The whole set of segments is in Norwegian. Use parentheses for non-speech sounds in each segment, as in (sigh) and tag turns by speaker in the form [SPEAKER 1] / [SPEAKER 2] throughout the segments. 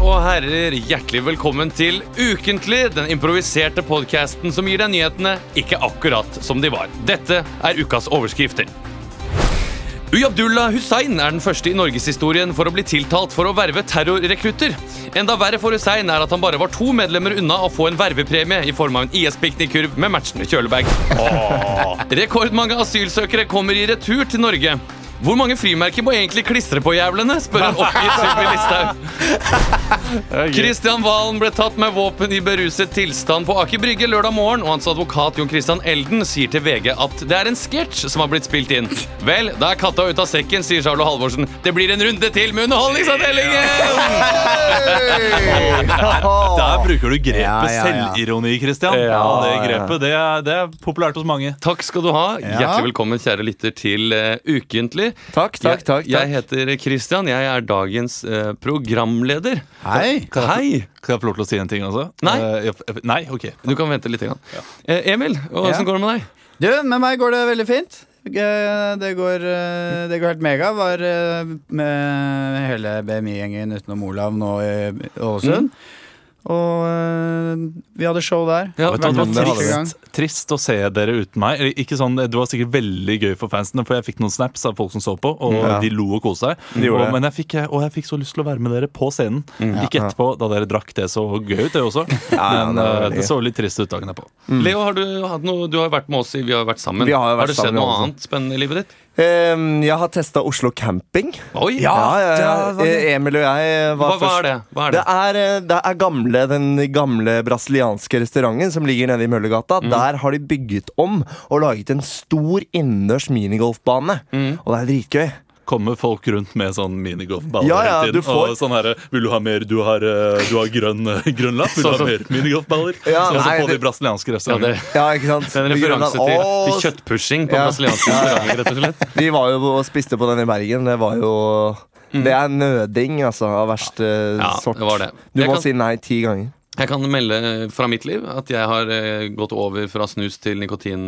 [SPEAKER 1] herrer, hjertelig velkommen til Ukentlig, den improviserte podkasten som gir deg nyhetene ikke akkurat som de var. Dette er ukas overskrifter. Uyabdullah Hussein er den første i norgeshistorien for å bli tiltalt for å verve terrorrekrutter. Enda verre for Hussein er at han bare var to medlemmer unna å få en vervepremie i form av en IS-piknikkurv med matchende kjølebag. Åh. Rekordmange asylsøkere kommer i retur til Norge. Hvor mange frimerker må egentlig klistre på jævlene? spør en oppgitt Sylvi Listhaug. Kristian Valen ble tatt med våpen i beruset tilstand på Aker Brygge lørdag morgen, og hans advokat Jon Christian Elden sier til VG at det er en sketsj som har blitt spilt inn. Vel, da er katta ute av sekken, sier Charlo Halvorsen. Det blir en runde til med Underholdningsavdelingen!
[SPEAKER 2] Der bruker du grepet
[SPEAKER 3] Ja, ja, ja.
[SPEAKER 2] selvironi, Christian. Ja, det grepet det er, det er populært hos mange.
[SPEAKER 1] Takk skal du ha. Hjertelig velkommen, kjære lytter, til eh, Ukentlig.
[SPEAKER 3] Takk, takk, takk,
[SPEAKER 1] Jeg, jeg
[SPEAKER 3] takk.
[SPEAKER 1] heter Christian. Jeg er dagens eh, programleder.
[SPEAKER 3] Hei.
[SPEAKER 1] Hei!
[SPEAKER 2] Skal jeg få lov til å si en ting også?
[SPEAKER 1] Nei.
[SPEAKER 2] Eh, jeg- jeg- nei, ok
[SPEAKER 1] Du kan vente litt. Grann. Eh, Emil, åssen
[SPEAKER 3] Ja.
[SPEAKER 1] går det med deg?
[SPEAKER 3] Du, med meg går det veldig fint. Eh, Det går, eh, det går helt mega. Var eh, med hele BMI-gjengen utenom Olav nå i Ålesund. Og eh, vi hadde show der.
[SPEAKER 1] Ja,
[SPEAKER 2] Vet du, hva,
[SPEAKER 3] Vært
[SPEAKER 2] det
[SPEAKER 3] med
[SPEAKER 2] var
[SPEAKER 3] første gang.
[SPEAKER 2] trist, trist å se dere uten meg. Eller, Ikke sånn, det var sikkert veldig gøy for fansene, for jeg fikk noen snaps av folk som så på, og
[SPEAKER 3] Ja.
[SPEAKER 2] de lo og kosa seg.
[SPEAKER 4] De gjorde
[SPEAKER 2] Og,
[SPEAKER 4] det.
[SPEAKER 2] men jeg fikk, og jeg fikk så lyst til å være med dere på scenen. Ikke etterpå, da dere drakk. Det så gøy ut, det også.
[SPEAKER 4] Ja, ja,
[SPEAKER 2] Men
[SPEAKER 4] det var
[SPEAKER 2] eh,
[SPEAKER 4] veldig
[SPEAKER 2] det så litt trist ut dagen etterpå.
[SPEAKER 1] Leo, har du, hatt noe, du har vært med oss i Vi har vært sammen.
[SPEAKER 4] Mm. Vi har jo vært
[SPEAKER 1] det skjedd
[SPEAKER 4] sammen,
[SPEAKER 1] noe
[SPEAKER 4] altså.
[SPEAKER 1] annet spennende i livet ditt?
[SPEAKER 4] Ehm, jeg har testa Oslo camping.
[SPEAKER 1] Oi!
[SPEAKER 4] Ja, ja, ja.
[SPEAKER 3] det var det.
[SPEAKER 4] Eh, Emil og jeg
[SPEAKER 1] Hva,
[SPEAKER 4] var
[SPEAKER 1] hva
[SPEAKER 4] først.
[SPEAKER 1] er det? Hva er
[SPEAKER 4] Det
[SPEAKER 1] det?
[SPEAKER 4] er, eh, det er gamle, den gamle brasilianske restauranten som ligger nede i Møllergata.
[SPEAKER 1] Mm.
[SPEAKER 4] Der har de bygget om og laget en stor innendørs minigolfbane.
[SPEAKER 1] Mm.
[SPEAKER 4] Og det er dritgøy.
[SPEAKER 2] Kommer folk rundt med sånn minigolfballer
[SPEAKER 4] Ja, ja,
[SPEAKER 2] hele tiden?
[SPEAKER 4] du får-
[SPEAKER 2] Og sånn herre Vil du ha mer? Du har, eh, du har grønn, grønn lapp. Vil du
[SPEAKER 1] Sånn som-
[SPEAKER 2] ha mer minigolfballer?
[SPEAKER 4] Ja,
[SPEAKER 2] sånn som
[SPEAKER 4] nei,
[SPEAKER 2] på de
[SPEAKER 4] det-
[SPEAKER 2] brasilianske
[SPEAKER 1] Ja, det,
[SPEAKER 2] restaurantene.
[SPEAKER 4] Ja, ikke sant?
[SPEAKER 1] det er en
[SPEAKER 4] På grunn av-
[SPEAKER 1] referanse til, til
[SPEAKER 4] Åh,
[SPEAKER 1] kjøttpushing på
[SPEAKER 4] Ja.
[SPEAKER 1] brasilianske restauranter, rett og slett.
[SPEAKER 4] Vi var jo og spiste på den i Bergen. Det var jo Det er nøding, altså, av verste
[SPEAKER 1] Mm. Ja,
[SPEAKER 4] sort.
[SPEAKER 1] det var det.
[SPEAKER 4] Du
[SPEAKER 1] Jeg
[SPEAKER 4] må
[SPEAKER 1] kan-
[SPEAKER 4] si nei ti ganger.
[SPEAKER 1] Jeg kan melde eh, fra mitt liv at jeg har eh, gått over fra snus til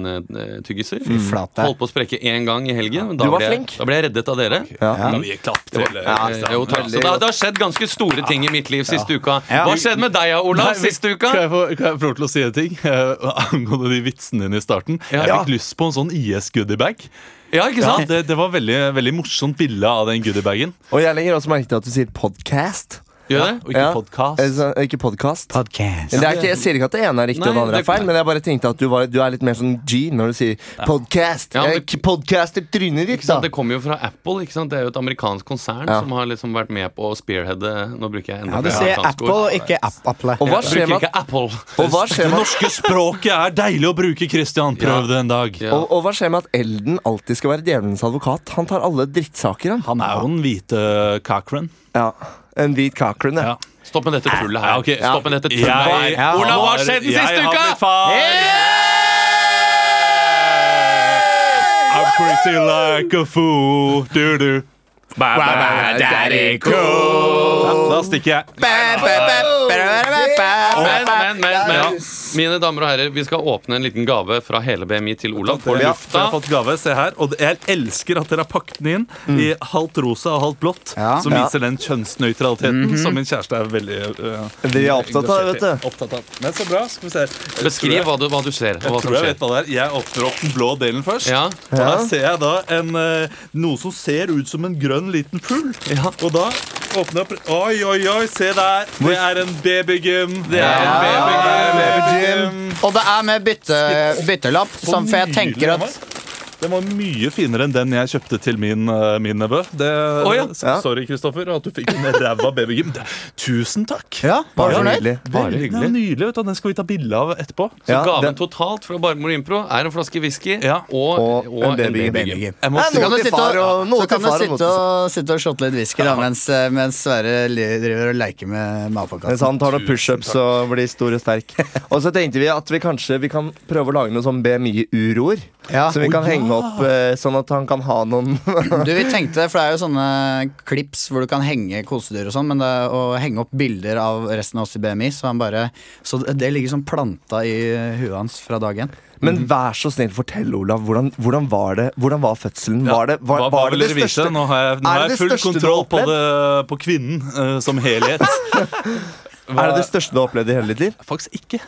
[SPEAKER 1] nikotintyggiser.
[SPEAKER 3] flate.
[SPEAKER 1] Holdt på å sprekke én gang i helgen. men Da
[SPEAKER 4] Du var
[SPEAKER 1] ble jeg,
[SPEAKER 4] flink.
[SPEAKER 1] da ble jeg reddet av dere.
[SPEAKER 4] Ja.
[SPEAKER 2] Da vi gir klapp til
[SPEAKER 4] Ja,
[SPEAKER 1] Eh, jo, takk. Så
[SPEAKER 4] veldig
[SPEAKER 1] da,
[SPEAKER 4] godt.
[SPEAKER 1] det har skjedd ganske store ting i mitt liv siste uka.
[SPEAKER 3] Ja.
[SPEAKER 1] Hva skjedde med deg, Olav,
[SPEAKER 2] Nei, men-
[SPEAKER 1] siste uka?
[SPEAKER 2] Kan jeg, få, kan jeg få lov til å si en ting eh, angående de vitsene dine i starten? Jeg
[SPEAKER 1] Ja.
[SPEAKER 2] fikk lyst på en sånn IS-goodiebag.
[SPEAKER 1] Ja, ikke
[SPEAKER 2] Ja,
[SPEAKER 1] sant?
[SPEAKER 2] det, det var veldig, veldig morsomt bilde av den goodiebagen.
[SPEAKER 4] Og jeg legger også merke til at du sier podcast.
[SPEAKER 1] Gjør det?
[SPEAKER 2] Og ikke
[SPEAKER 4] Ja.
[SPEAKER 2] podcast.
[SPEAKER 4] Altså, ikke podcast.
[SPEAKER 3] Podcast.
[SPEAKER 4] Det er ikke, jeg sier ikke at det ene er riktig
[SPEAKER 1] Nei,
[SPEAKER 4] og det andre
[SPEAKER 1] det-
[SPEAKER 4] er feil, men jeg bare tenkte at du, var, du er litt mer sånn G når du sier podcast.
[SPEAKER 1] Ja, men-
[SPEAKER 4] Jeg k- podcaster trynet ditt,
[SPEAKER 1] Ikke sant?
[SPEAKER 4] da.
[SPEAKER 1] Det kommer jo fra Apple. ikke sant? Det er jo et amerikansk konsern
[SPEAKER 4] Ja.
[SPEAKER 1] som har liksom vært med på å spearheade Nå bruker jeg enda
[SPEAKER 3] Ja, du
[SPEAKER 1] flere
[SPEAKER 3] sier
[SPEAKER 1] amerikanske
[SPEAKER 3] Apple,
[SPEAKER 1] ord.
[SPEAKER 3] ikke App-Apple.
[SPEAKER 4] Og hva skjer
[SPEAKER 1] Bruker
[SPEAKER 4] med,
[SPEAKER 1] ikke Apple.
[SPEAKER 4] og hva
[SPEAKER 2] Det
[SPEAKER 4] skjer med,
[SPEAKER 2] norske språket er deilig å bruke, Christian. Prøv det en dag.
[SPEAKER 1] Ja.
[SPEAKER 4] og, og hva skjer med at Elden alltid skal være djevelens advokat? Han tar alle drittsaker, han.
[SPEAKER 2] Han er jo den hvite Cochran.
[SPEAKER 4] Ja. En hvit Cochran, ja.
[SPEAKER 2] Ja.
[SPEAKER 1] Stopp med dette tullet her.
[SPEAKER 2] Ja, ok.
[SPEAKER 1] Stopp med dette tullet
[SPEAKER 2] Jeg-
[SPEAKER 1] her. Olav, hva har skjedd den
[SPEAKER 2] Jeg
[SPEAKER 1] siste
[SPEAKER 2] har blitt
[SPEAKER 1] uka?
[SPEAKER 2] far. I'm crazy like a fool. Du, du. Ba, ba, ba, daddy cool. Da stikker jeg.
[SPEAKER 1] Men, men, men, men Mine damer og herrer, vi skal åpne en liten gave fra hele BMI til Olav på
[SPEAKER 2] Ja, for jeg
[SPEAKER 1] lufta.
[SPEAKER 2] har fått gave, se her Og jeg elsker at dere har pakket den inn I halvt rosa og halvt blått
[SPEAKER 3] Ja.
[SPEAKER 2] Som
[SPEAKER 4] Ja.
[SPEAKER 2] viser den kjønnsnøytraliteten Som min kjæreste er veldig øh,
[SPEAKER 4] Vi er opptatt av, vet du.
[SPEAKER 2] Opptatt av Men så bra, skal vi se her.
[SPEAKER 1] Beskriv hva du, hva du ser.
[SPEAKER 2] Jeg
[SPEAKER 1] Og hva
[SPEAKER 2] tror
[SPEAKER 1] som
[SPEAKER 2] jeg
[SPEAKER 1] skjer.
[SPEAKER 2] vet hva det er Jeg åpner opp den blå delen først
[SPEAKER 1] Ja.
[SPEAKER 2] Og her ser jeg da en, eh, noe som ser ut som en grønn liten full
[SPEAKER 1] Ja.
[SPEAKER 2] Og da åpner jeg opp Oi, oi, oi, se der Det er en babygym Det er en babygym
[SPEAKER 3] Og det er med bytte, byttelapp, som, sånn, for jeg tenker at
[SPEAKER 2] Den var mye finere enn den jeg kjøpte til min, eh, min nevø. Det,
[SPEAKER 1] Å, ja.
[SPEAKER 2] s- Sorry, Kristoffer, at du fikk en ræva babygym. Det- Tusen takk!
[SPEAKER 3] Ja, var du
[SPEAKER 4] Bare
[SPEAKER 3] fornøyd?
[SPEAKER 4] nydelig.
[SPEAKER 1] Bare
[SPEAKER 2] Veldig
[SPEAKER 1] hyggelig.
[SPEAKER 2] nydelig. Vet du. Den skal vi ta bilde av etterpå.
[SPEAKER 1] Så
[SPEAKER 4] Ja,
[SPEAKER 1] gaven
[SPEAKER 4] den-
[SPEAKER 1] totalt fra Barmor Impro er en flaske whisky
[SPEAKER 2] Ja.
[SPEAKER 1] og,
[SPEAKER 4] Og
[SPEAKER 1] og
[SPEAKER 4] en baby.
[SPEAKER 3] Babygym.
[SPEAKER 2] Jeg må
[SPEAKER 4] Nei,
[SPEAKER 2] si
[SPEAKER 3] Så kan
[SPEAKER 4] Noe
[SPEAKER 3] du
[SPEAKER 4] til
[SPEAKER 3] sitte
[SPEAKER 4] far og-
[SPEAKER 3] og,
[SPEAKER 4] noe
[SPEAKER 3] så kan
[SPEAKER 4] til
[SPEAKER 3] du
[SPEAKER 4] far og noe
[SPEAKER 3] sitte og, sitte og shotte litt whisky da, mens, eh, mens Sverre li- driver og leker med
[SPEAKER 4] Mens
[SPEAKER 3] matpakka.
[SPEAKER 4] han tar noen pushups og blir stor og sterk. Og så tenkte vi at vi kanskje vi kan prøve å lage noen sånn BMI-uroer.
[SPEAKER 3] Ja.
[SPEAKER 4] Som vi kan henge opp eh, sånn at han kan ha noen
[SPEAKER 3] Du, vi tenkte, for Det er jo sånne klips hvor du kan henge kosedyr og sånn, men det er å henge opp bilder av resten av oss i BMI, så han bare Så det ligger som planta i huet hans fra dag én.
[SPEAKER 4] Men vær så snill, fortell, Olav. Hvordan, hvordan var det Hvordan var fødselen? Var det, var,
[SPEAKER 2] hva, hva
[SPEAKER 4] var det
[SPEAKER 2] vil
[SPEAKER 4] det
[SPEAKER 2] dere vise?
[SPEAKER 4] største?
[SPEAKER 2] Nå har jeg, nå
[SPEAKER 4] Er
[SPEAKER 2] har jeg
[SPEAKER 4] det det
[SPEAKER 2] full
[SPEAKER 4] største du
[SPEAKER 2] kontroll
[SPEAKER 4] har
[SPEAKER 2] på, det, på kvinnen eh, som helhet.
[SPEAKER 4] Er det det største du har opplevd i hele ditt liv?
[SPEAKER 2] Faktisk ikke.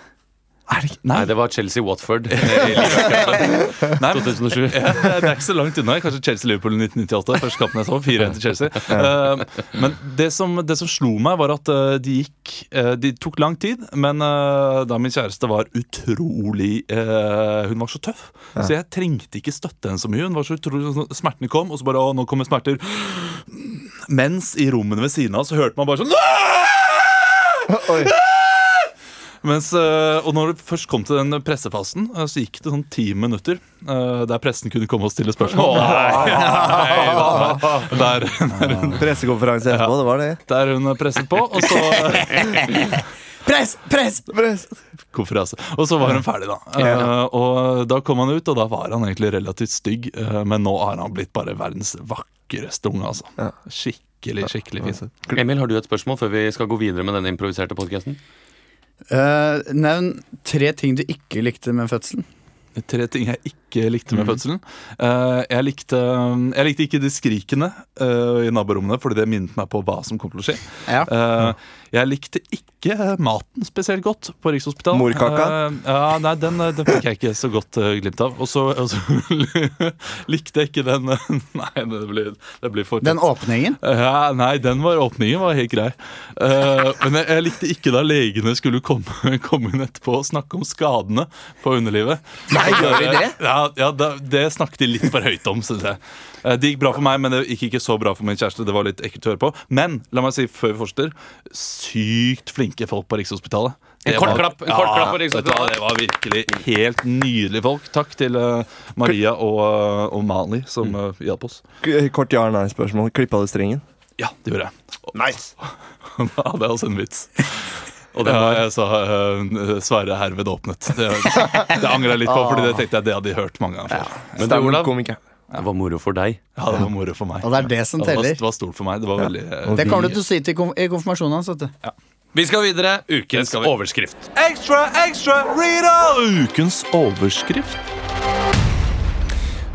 [SPEAKER 1] Nei, det var Chelsea-Watford i Liverpool, (laughs)
[SPEAKER 2] Nei, men-
[SPEAKER 1] 2007.
[SPEAKER 2] Ja, det er ikke så langt unna. Kanskje Chelsea-Liverpool i 1998. Første kampen jeg så, 4-1 til Chelsea. Eh, Men det som, det som slo meg, var at eh, de gikk eh, De tok lang tid, men eh, da min kjæreste var utrolig eh, Hun var så tøff, så jeg trengte ikke støtte henne så mye. Hun var så utrolig sånn- Smertene kom, og så bare Å, nå kommer smerter. Mens i rommene ved siden av så hørte man bare sånn
[SPEAKER 4] Oi.
[SPEAKER 2] Mens, eh, og når det først kom til den pressefasen, eh, så gikk det sånn ti minutter eh, der pressen kunne komme og stille spørsmål. Nei, nei, nei. Der, (laughs) der, hun,
[SPEAKER 4] Pressekonferanse etterpå, det var det.
[SPEAKER 2] der hun presset på, og så (laughs)
[SPEAKER 3] Press! Press!
[SPEAKER 2] Konferanse. altså? Og så var hun ferdig, da. Eh,
[SPEAKER 4] Ja.
[SPEAKER 2] Og da kom han ut, og da var han egentlig relativt stygg, eh, men nå har han blitt bare verdens vakreste unge, altså. Skikkelig, skikkelig fin.
[SPEAKER 1] Emil, har du et spørsmål før vi skal gå videre med denne improviserte podkasten?
[SPEAKER 3] Eh, nevn tre ting du ikke likte med fødselen.
[SPEAKER 2] Tre ting jeg ikke likte
[SPEAKER 3] Mhm.
[SPEAKER 2] med fødselen. Eh, jeg, likte, jeg likte ikke de skrikene eh, i naborommene, fordi det minnet meg på hva som kom til å skje.
[SPEAKER 3] Ja.
[SPEAKER 2] Eh, jeg likte ikke maten spesielt godt på Rikshospitalet.
[SPEAKER 4] Morkaka?
[SPEAKER 2] Eh, ja, nei, den, eh, den fikk jeg ikke så godt eh, glimt av. Og så (laughs) og så likte jeg ikke den (laughs) eh, Nei, det blir, det blir for
[SPEAKER 3] Den åpningen.
[SPEAKER 2] ja, nei, den var åpningen var helt grei. Eh, men jeg, jeg likte ikke da legene skulle komme, (laughs) komme inn etterpå og snakke om skadene på underlivet. Nei, gjør de det? Ja, ja da, Det snakket de litt for høyt om, syns jeg. Eh, det gikk bra for meg, men det gikk ikke så bra for min kjæreste. Det var litt ekkelt å høre på. Men la meg si før vi fortsetter, sykt flinke folk på Rikshospitalet.
[SPEAKER 1] En
[SPEAKER 2] Det
[SPEAKER 1] kort
[SPEAKER 2] var-
[SPEAKER 1] klapp, en kort klapp på
[SPEAKER 2] vet du hva,
[SPEAKER 1] Rikshospitalet.
[SPEAKER 2] Det var virkelig helt nydelige folk. Takk til eh, Maria og, eh, og Mali som
[SPEAKER 1] Mm.
[SPEAKER 2] eh, hjalp oss.
[SPEAKER 4] K- Kort ja eller nei-spørsmål. Klippa du strengen?
[SPEAKER 2] Ja, det gjorde jeg.
[SPEAKER 4] Nice.
[SPEAKER 2] (laughs) Da hadde jeg også en vits. Og det var jeg sa eh, Sverre herved åpnet. Det, det angra jeg litt på, Fordi det tenkte jeg det hadde de hørt mange ganger før.
[SPEAKER 1] Men du, Olav,
[SPEAKER 4] Komiker.
[SPEAKER 1] det var moro for deg.
[SPEAKER 2] Ja, det var moro for meg.
[SPEAKER 3] Og det er det som
[SPEAKER 2] Ja, det var,
[SPEAKER 3] teller.
[SPEAKER 2] det var stort for meg. Det var veldig eh,
[SPEAKER 3] Det kommer du til å si til konf i konfirmasjonen hans. vet du.
[SPEAKER 1] Vi skal videre. Ukens overskrift.
[SPEAKER 2] Ekstra, ekstra, Rita! Ukens overskrift.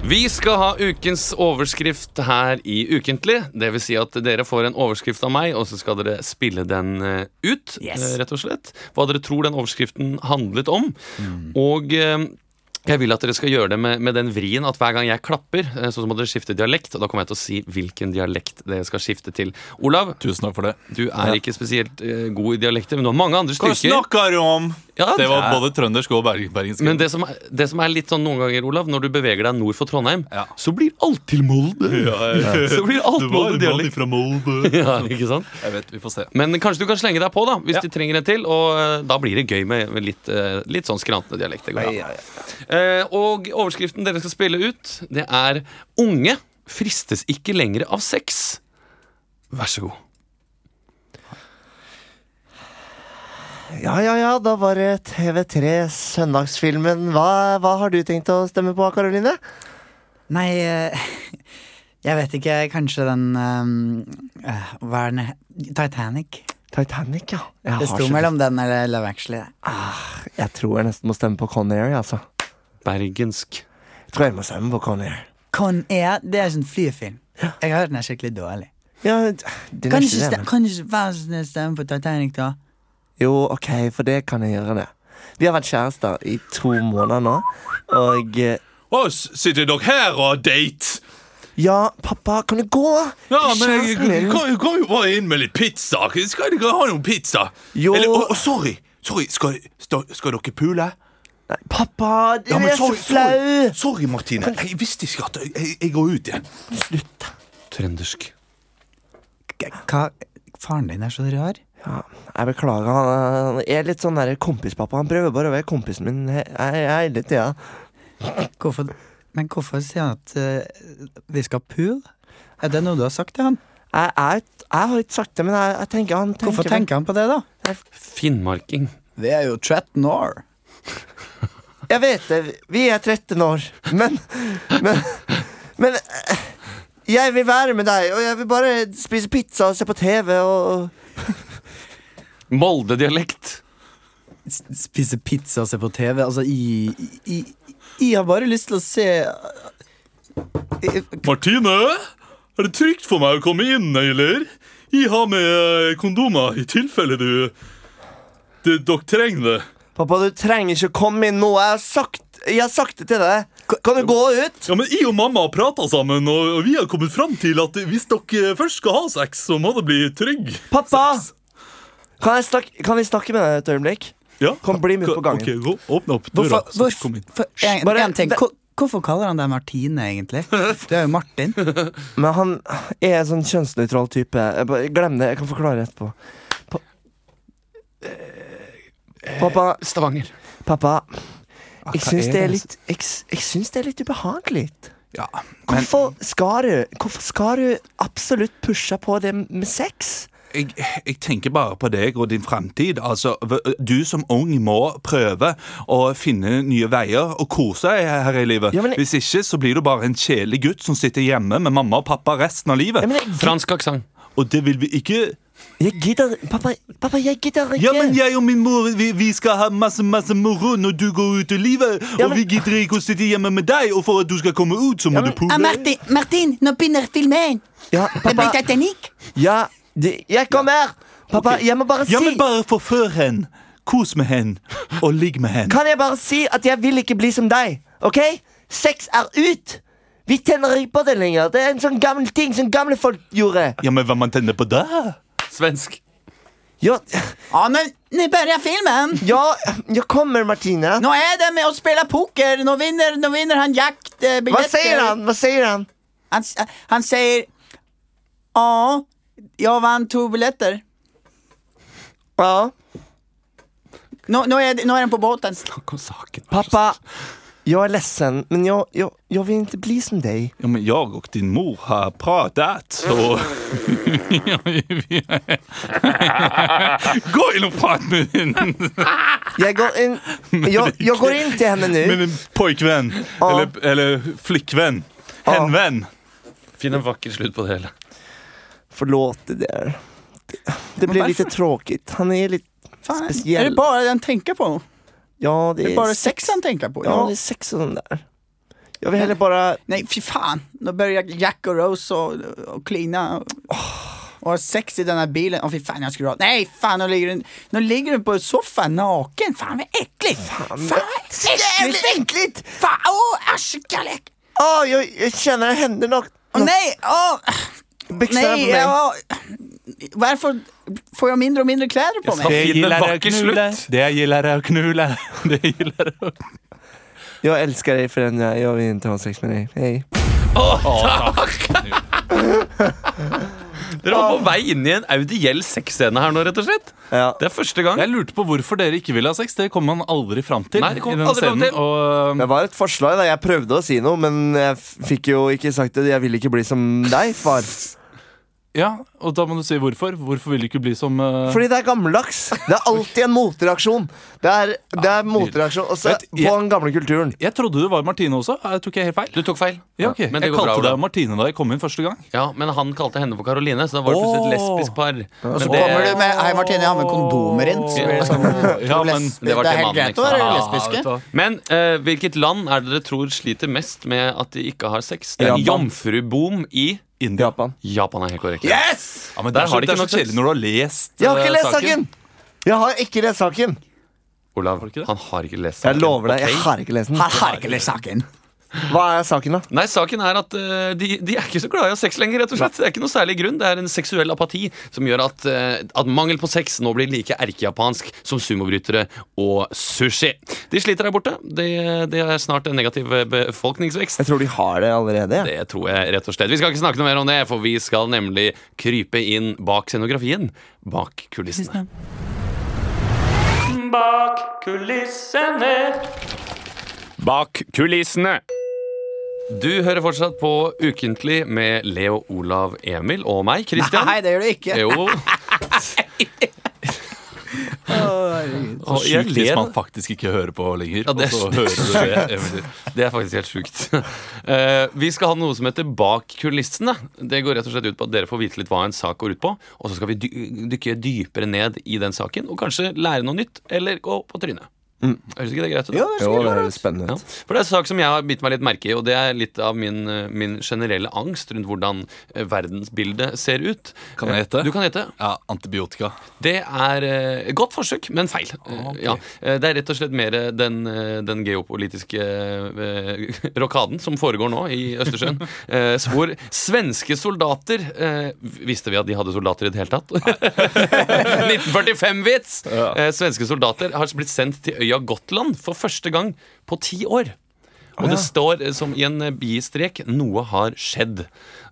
[SPEAKER 1] Vi skal ha ukens overskrift her i Ukentlig. Det vil si at dere får en overskrift av meg, og så skal dere spille den eh, ut. eh, Rett og slett. Hva dere tror den overskriften handlet om.
[SPEAKER 2] Mm.
[SPEAKER 1] Og eh, jeg vil at dere skal gjøre det med, med den vrien at hver gang jeg klapper, eh, så må dere skifte dialekt. Og da kommer jeg til å si hvilken dialekt dere skal skifte til. Olav,
[SPEAKER 2] Tusen takk for det.
[SPEAKER 1] du er ikke spesielt eh, god i dialekter, men du har mange andre styrker.
[SPEAKER 2] snakker du om?
[SPEAKER 1] Ja,
[SPEAKER 2] Det var både trøndersk og berg- bergensk.
[SPEAKER 1] Men det som, er, det som er litt sånn noen ganger, Olav, når du beveger deg nord for Trondheim,
[SPEAKER 2] Ja.
[SPEAKER 1] så blir alt til Molde.
[SPEAKER 2] ja, ja.
[SPEAKER 1] Så blir alt
[SPEAKER 2] Du var
[SPEAKER 1] Molde
[SPEAKER 2] en mann
[SPEAKER 1] dialekt.
[SPEAKER 2] fra Molde.
[SPEAKER 1] (laughs) Ja, ikke sant?
[SPEAKER 2] Jeg vet, Vi får se.
[SPEAKER 1] Men kanskje du kan slenge deg på, da, hvis
[SPEAKER 2] Ja.
[SPEAKER 1] du trenger en til. Og eh, da blir det gøy med med litt, eh, litt sånn skrantende dialekt. Det går an. Eh, og overskriften dere skal spille ut, det er 'Unge fristes ikke lenger av sex'. Vær så god.
[SPEAKER 4] Ja, ja, ja, da var det TV3 Søndagsfilmen. Hva, hva har du tenkt å stemme på, Karoline?
[SPEAKER 3] Nei, eh, (laughs) jeg vet ikke. Kanskje den eh, eh, Hva er den he- Titanic.
[SPEAKER 4] Titanic, ja. Jeg
[SPEAKER 3] Det
[SPEAKER 4] har
[SPEAKER 3] sto
[SPEAKER 4] så-
[SPEAKER 3] mellom den eller Love Actually.
[SPEAKER 4] Jeg tror jeg nesten må stemme på Conair, altså.
[SPEAKER 1] Bergensk.
[SPEAKER 4] Jeg tror jeg må stemme på Conair.
[SPEAKER 3] Con Air, det er sånn flyfilm. Jeg har hørt den er skikkelig dårlig.
[SPEAKER 4] Ja, det
[SPEAKER 3] Kan du
[SPEAKER 4] neste
[SPEAKER 3] ikke
[SPEAKER 4] er-
[SPEAKER 3] ste- kan du ikke være så snill å stemme på Titanic, da?
[SPEAKER 4] Jo, ok, for det kan jeg gjøre, det. Vi har vært kjærester i to måneder nå, og eh,
[SPEAKER 2] Å, sitter dere her og har date?
[SPEAKER 4] Ja, pappa, kan du gå?
[SPEAKER 2] Ja,
[SPEAKER 4] Det er
[SPEAKER 2] men jeg
[SPEAKER 4] kjæresten min.
[SPEAKER 2] kan, kan jo bare inn med litt pizza. Skal dere ha noen pizza?
[SPEAKER 4] Jo.
[SPEAKER 2] Eller, å, å, sorry, sorry. Skal, skal, skal dere pule?
[SPEAKER 4] Nei, Pappa, du
[SPEAKER 2] Ja, men
[SPEAKER 4] er så
[SPEAKER 2] sorry, sorry,
[SPEAKER 4] flau!
[SPEAKER 2] sorry, Martine. Jeg visste ikke at Jeg, jeg, jeg går ut igjen.
[SPEAKER 4] Slutt.
[SPEAKER 1] Trøndersk.
[SPEAKER 3] K- Hva? Faren din er så rar.
[SPEAKER 4] Ja, jeg beklager. Han er- er litt sånn der kompispappa. Han prøver bare å være kompisen min he- he- hele tida.
[SPEAKER 3] Hvorfor, men hvorfor sier han at eh, vi skal pule? Er det noe du har sagt til han?
[SPEAKER 4] Jeg, jeg, jeg har ikke sagt det, men jeg, jeg tenker han tenker
[SPEAKER 3] Hvorfor tenker han på det, da?
[SPEAKER 1] Finnmarking.
[SPEAKER 3] Vi er jo 13 år.
[SPEAKER 4] Jeg vet det. Vi er 13 år. Men Men, men eh, jeg vil være med deg, og jeg vil bare spise pizza og se på TV og
[SPEAKER 1] Molde-dialekt.
[SPEAKER 3] Spise pizza og se på TV. Altså, jeg, jeg, jeg har bare lyst til å se eh, jeg,
[SPEAKER 2] Martine, er det trygt for meg å komme inn, eller? Jeg har med kondomer i eh, tilfelle du Du, dere trenger det.
[SPEAKER 4] Pappa, du trenger ikke komme inn nå. Jeg har sagt, jeg har sagt det til deg. Kan du gå ut?
[SPEAKER 2] Ja, men Jeg og mamma har prata sammen, og og vi har kommet fram til at hvis dere først skal ha sex, så må det bli trygg.
[SPEAKER 4] Pappa! Kan, jeg snakke, kan vi snakke med deg et øyeblikk?
[SPEAKER 2] Ja.
[SPEAKER 4] Kom, bli med ut på gangen.
[SPEAKER 2] Ok, gå, åpne opp døra.
[SPEAKER 3] Hvorfor,
[SPEAKER 2] så kom inn.
[SPEAKER 3] hvorfor, en,
[SPEAKER 4] Bare-
[SPEAKER 3] en ting. Hvor- Hvorfor kaller han deg Martine, egentlig? Du er jo
[SPEAKER 1] (laughs)
[SPEAKER 3] Martin.
[SPEAKER 4] Men han er en sånn kjønnsnøytral type. Jeg bare- Glem det. Jeg kan forklare etterpå. Pa
[SPEAKER 2] Eh,
[SPEAKER 4] pappa,
[SPEAKER 1] Stavanger.
[SPEAKER 4] pappa.
[SPEAKER 2] Ah,
[SPEAKER 4] Jeg
[SPEAKER 2] hva
[SPEAKER 4] syns
[SPEAKER 2] er
[SPEAKER 4] det er
[SPEAKER 2] det?
[SPEAKER 4] litt Jeg, s- jeg syns det er litt ubehagelig.
[SPEAKER 2] Ja, men
[SPEAKER 4] Hvorfor skal du Hvorfor skal du absolutt pushe på det med sex?
[SPEAKER 2] jeg, jeg tenker bare på deg og din fremtid. Altså, v- du som ung må prøve å finne nye veier og kose deg her i livet.
[SPEAKER 4] Ja, men jeg-
[SPEAKER 2] Hvis ikke så blir du bare en kjedelig gutt som sitter hjemme med mamma og pappa resten av livet.
[SPEAKER 4] Ja, men jeg,
[SPEAKER 1] Fransk aksent.
[SPEAKER 2] Og det vil vi ikke.
[SPEAKER 4] jeg gidder Pappa, pappa jeg gidder ikke.
[SPEAKER 2] Ja, men jeg og min mor vi, vi skal ha masse masse moro når du går ut i livet.
[SPEAKER 4] Ja,
[SPEAKER 2] Og
[SPEAKER 4] men-
[SPEAKER 2] vi gidder ikke å sitte hjemme med deg, og for at du skal komme ut, så må du pule.
[SPEAKER 5] Ah, Martin, nå begynner filmen!
[SPEAKER 4] ja, pappa,
[SPEAKER 5] Titanic?
[SPEAKER 4] ja, det- jeg kommer! Pappa, jeg må bare si
[SPEAKER 2] Ja, men bare forfør henne. Kos med henne, og ligg med henne.
[SPEAKER 4] Kan jeg bare si at jeg vil ikke bli som deg, ok? Sex er ut! Vi tenner ikke på det lenger. Det er en sånn gammel ting som gamle folk gjorde.
[SPEAKER 2] Ja, men hva man tenner på da?
[SPEAKER 1] Svensk.
[SPEAKER 4] Ja,
[SPEAKER 5] Ja, men nu börjar filmen!
[SPEAKER 4] ja, jeg kommer, Martine.
[SPEAKER 5] Nå er det med å spille poker! Nå vinner, nå vinner han jaktbilletter!
[SPEAKER 4] Hva sier han? Hva sier han?
[SPEAKER 5] Han, s- han sier Ja, jeg vant to billetter.
[SPEAKER 4] Ja,
[SPEAKER 5] Nå, nå, er, det- nå er han på båten.
[SPEAKER 1] Snakk om saken.
[SPEAKER 4] pappa. Jeg er ledsen, men jeg, jeg, jeg vil ikke bli som deg.
[SPEAKER 2] Ja, men jeg og din mor har pratet,
[SPEAKER 1] (laughs)
[SPEAKER 2] og Gå inn og prat med din
[SPEAKER 4] Jeg går inn, jeg, jeg går inn til henne
[SPEAKER 2] med
[SPEAKER 1] Eh?
[SPEAKER 4] nå.
[SPEAKER 2] din pojkvenn.
[SPEAKER 1] Ah.
[SPEAKER 2] Eller, eller flikkvenn. Henvenn.
[SPEAKER 1] Finn en vakker slutt på det hele.
[SPEAKER 4] Forlåt det der. Det- Det ble litt tråkig. Han er litt
[SPEAKER 5] Fan,
[SPEAKER 4] Speciell.
[SPEAKER 5] er det bare det han tenker på?
[SPEAKER 4] Ja,
[SPEAKER 5] Det
[SPEAKER 4] det
[SPEAKER 5] er bare
[SPEAKER 4] er
[SPEAKER 5] sex han tenker på?
[SPEAKER 4] Ja,
[SPEAKER 5] Ja.
[SPEAKER 4] det er sex og sånn der. Jeg vil heller bare
[SPEAKER 5] Nei, fy faen. Nå begynner Jack og Rose og, og kline. Og, og ha sex i denne bilen. Å, fy faen, jeg skulle ha Nei, faen, nå ligger hun, nå ligger hun på sofaen naken. Faen, så ekkelig! Faen, så
[SPEAKER 4] Jævlig
[SPEAKER 5] ekkelig!
[SPEAKER 4] enkelt!
[SPEAKER 5] Faen, å, æsj, kjærlighet!
[SPEAKER 4] Å, Ah, jeg, jeg kjenner hender nok.
[SPEAKER 5] Å nei, å!
[SPEAKER 4] Byksene
[SPEAKER 5] Nei,
[SPEAKER 4] på meg.
[SPEAKER 5] ja, hvorfor får jeg mindre og mindre klær på meg?
[SPEAKER 1] Det gillar jag knulla.
[SPEAKER 2] Det gillar jeg å
[SPEAKER 1] (laughs)
[SPEAKER 2] knule. Det gillar jeg å
[SPEAKER 4] Jeg elsker deg for den jeg er. Jeg vil ikke ha sex med deg. Hei.
[SPEAKER 1] Dere var på vei inn i en audiell sexscene her nå, rett og slett.
[SPEAKER 4] Ja.
[SPEAKER 1] Det er første gang.
[SPEAKER 2] Jeg lurte på hvorfor dere ikke ville ha sex. Det kom man aldri fram til.
[SPEAKER 1] Nei, det kom
[SPEAKER 2] i denne
[SPEAKER 1] aldri fram
[SPEAKER 2] scenen,
[SPEAKER 1] til.
[SPEAKER 2] Og,
[SPEAKER 4] Det var et forslag. da Jeg prøvde å si noe, men jeg f- fikk jo ikke sagt det. Jeg vil ikke bli som deg, far.
[SPEAKER 2] ja, og da må du si hvorfor. Hvorfor vil du ikke bli som eh,
[SPEAKER 4] Fordi det er gammeldags. Det er alltid en motreaksjon. Det er, det er motreaksjon også
[SPEAKER 2] Vet-
[SPEAKER 4] på den gamle kulturen.
[SPEAKER 2] Jeg trodde du var Martine også. Jeg tok jeg helt feil?
[SPEAKER 1] Du tok feil.
[SPEAKER 2] Ja, ok.
[SPEAKER 1] Men det
[SPEAKER 2] jeg
[SPEAKER 1] går bra,
[SPEAKER 2] kalte
[SPEAKER 1] Ola.
[SPEAKER 2] deg Martine da jeg kom inn første gang.
[SPEAKER 1] Ja, men han kalte henne for Karoline, så da var det plutselig et
[SPEAKER 2] Åh.
[SPEAKER 1] lesbisk par. Men
[SPEAKER 5] Og så
[SPEAKER 1] det-
[SPEAKER 5] kommer du med Hei, Martine, jeg har med kondomer inn. Så blir det sånn
[SPEAKER 2] Ja, men
[SPEAKER 5] lesb-
[SPEAKER 1] det var
[SPEAKER 5] det
[SPEAKER 1] til
[SPEAKER 5] er
[SPEAKER 1] mannen,
[SPEAKER 5] helt greit å
[SPEAKER 1] ikke
[SPEAKER 5] være
[SPEAKER 1] sant?
[SPEAKER 2] liksom? vet du
[SPEAKER 5] lesbiske.
[SPEAKER 2] hva?
[SPEAKER 1] Men eh, hvilket land er det dere tror sliter mest med at de ikke har sex? Det er
[SPEAKER 4] Japan.
[SPEAKER 1] Jomfruboom i
[SPEAKER 2] India.
[SPEAKER 4] Japan.
[SPEAKER 1] Japan er helt korrekt.
[SPEAKER 4] Yes!
[SPEAKER 2] Ja, men det
[SPEAKER 1] Der har
[SPEAKER 2] er så,
[SPEAKER 1] de ikke
[SPEAKER 2] det er så
[SPEAKER 1] nok sex.
[SPEAKER 2] kjedelig når du har lest
[SPEAKER 4] Jeg har
[SPEAKER 2] eh,
[SPEAKER 4] ikke lest saken! Jeg har ikke lest saken.
[SPEAKER 1] Olav,
[SPEAKER 2] det ikke det?
[SPEAKER 1] han har ikke lest
[SPEAKER 4] Jeg lover deg, jeg
[SPEAKER 1] Ok.
[SPEAKER 4] har ikke lest den.
[SPEAKER 5] Han har ikke lest saken.
[SPEAKER 4] Hva er saken, da?
[SPEAKER 1] Nei, saken er at eh, de, de er ikke så glad i å ha sex lenger, rett og slett. Det er ikke noe særlig grunn. Det er en seksuell apati som gjør at, eh, at mangel på sex nå blir like erkejapansk som sumobrytere og sushi. De sliter der borte. Det det er snart en negativ eh, befolkningsvekst.
[SPEAKER 4] Jeg tror de har det allerede.
[SPEAKER 1] Det tror jeg rett og slett. Vi skal ikke snakke noe mer om det, for vi skal nemlig krype inn bak scenografien. Bak kulissene.
[SPEAKER 6] Bak kulissene.
[SPEAKER 1] Du hører fortsatt på Ukentlig med Leo, Olav, Emil og meg, Christian.
[SPEAKER 5] Nei, det gjør du ikke.
[SPEAKER 1] (laughs) Jo.
[SPEAKER 2] Og
[SPEAKER 1] Og jeg
[SPEAKER 2] sjukt hvis
[SPEAKER 1] ler.
[SPEAKER 2] man faktisk ikke hører på lenger.
[SPEAKER 1] Ja, det er
[SPEAKER 2] og så
[SPEAKER 1] sjukt.
[SPEAKER 2] hører du det. Emily.
[SPEAKER 1] Det er faktisk helt sjukt. (laughs) Eh, vi skal ha noe som heter Bak kulissene. Det går rett og slett ut på at dere får vite litt hva en sak går ut på, og så skal vi dy dykke dypere ned i den saken og kanskje lære noe nytt eller gå på trynet. Høres ikke Mm. det greit ut? da?
[SPEAKER 4] Jo, det høres spennende
[SPEAKER 1] Ja,
[SPEAKER 4] ut.
[SPEAKER 1] for det er en sak som jeg har bitt meg litt merke i, og det er litt av min, eh, min generelle angst rundt hvordan eh, verdensbildet ser ut. Eh,
[SPEAKER 2] Kan jeg gjette?
[SPEAKER 1] Du kan gjette.
[SPEAKER 2] Ja, antibiotika.
[SPEAKER 1] Det er eh, godt forsøk, men feil.
[SPEAKER 3] Ah,
[SPEAKER 1] Eh, ja. Eh, Det er rett og slett mer eh, den, eh, den geopolitiske eh, rokaden som foregår nå i Østersjøen.
[SPEAKER 3] (laughs)
[SPEAKER 1] eh, så hvor svenske soldater eh, Visste vi at de hadde soldater i det
[SPEAKER 3] (laughs)
[SPEAKER 1] hele tatt? 1945-vits! Eh, Svenske soldater har blitt sendt til øya Gotland for første gang på ti år. Og det står eh, som i en eh, bistrek 'noe har skjedd'.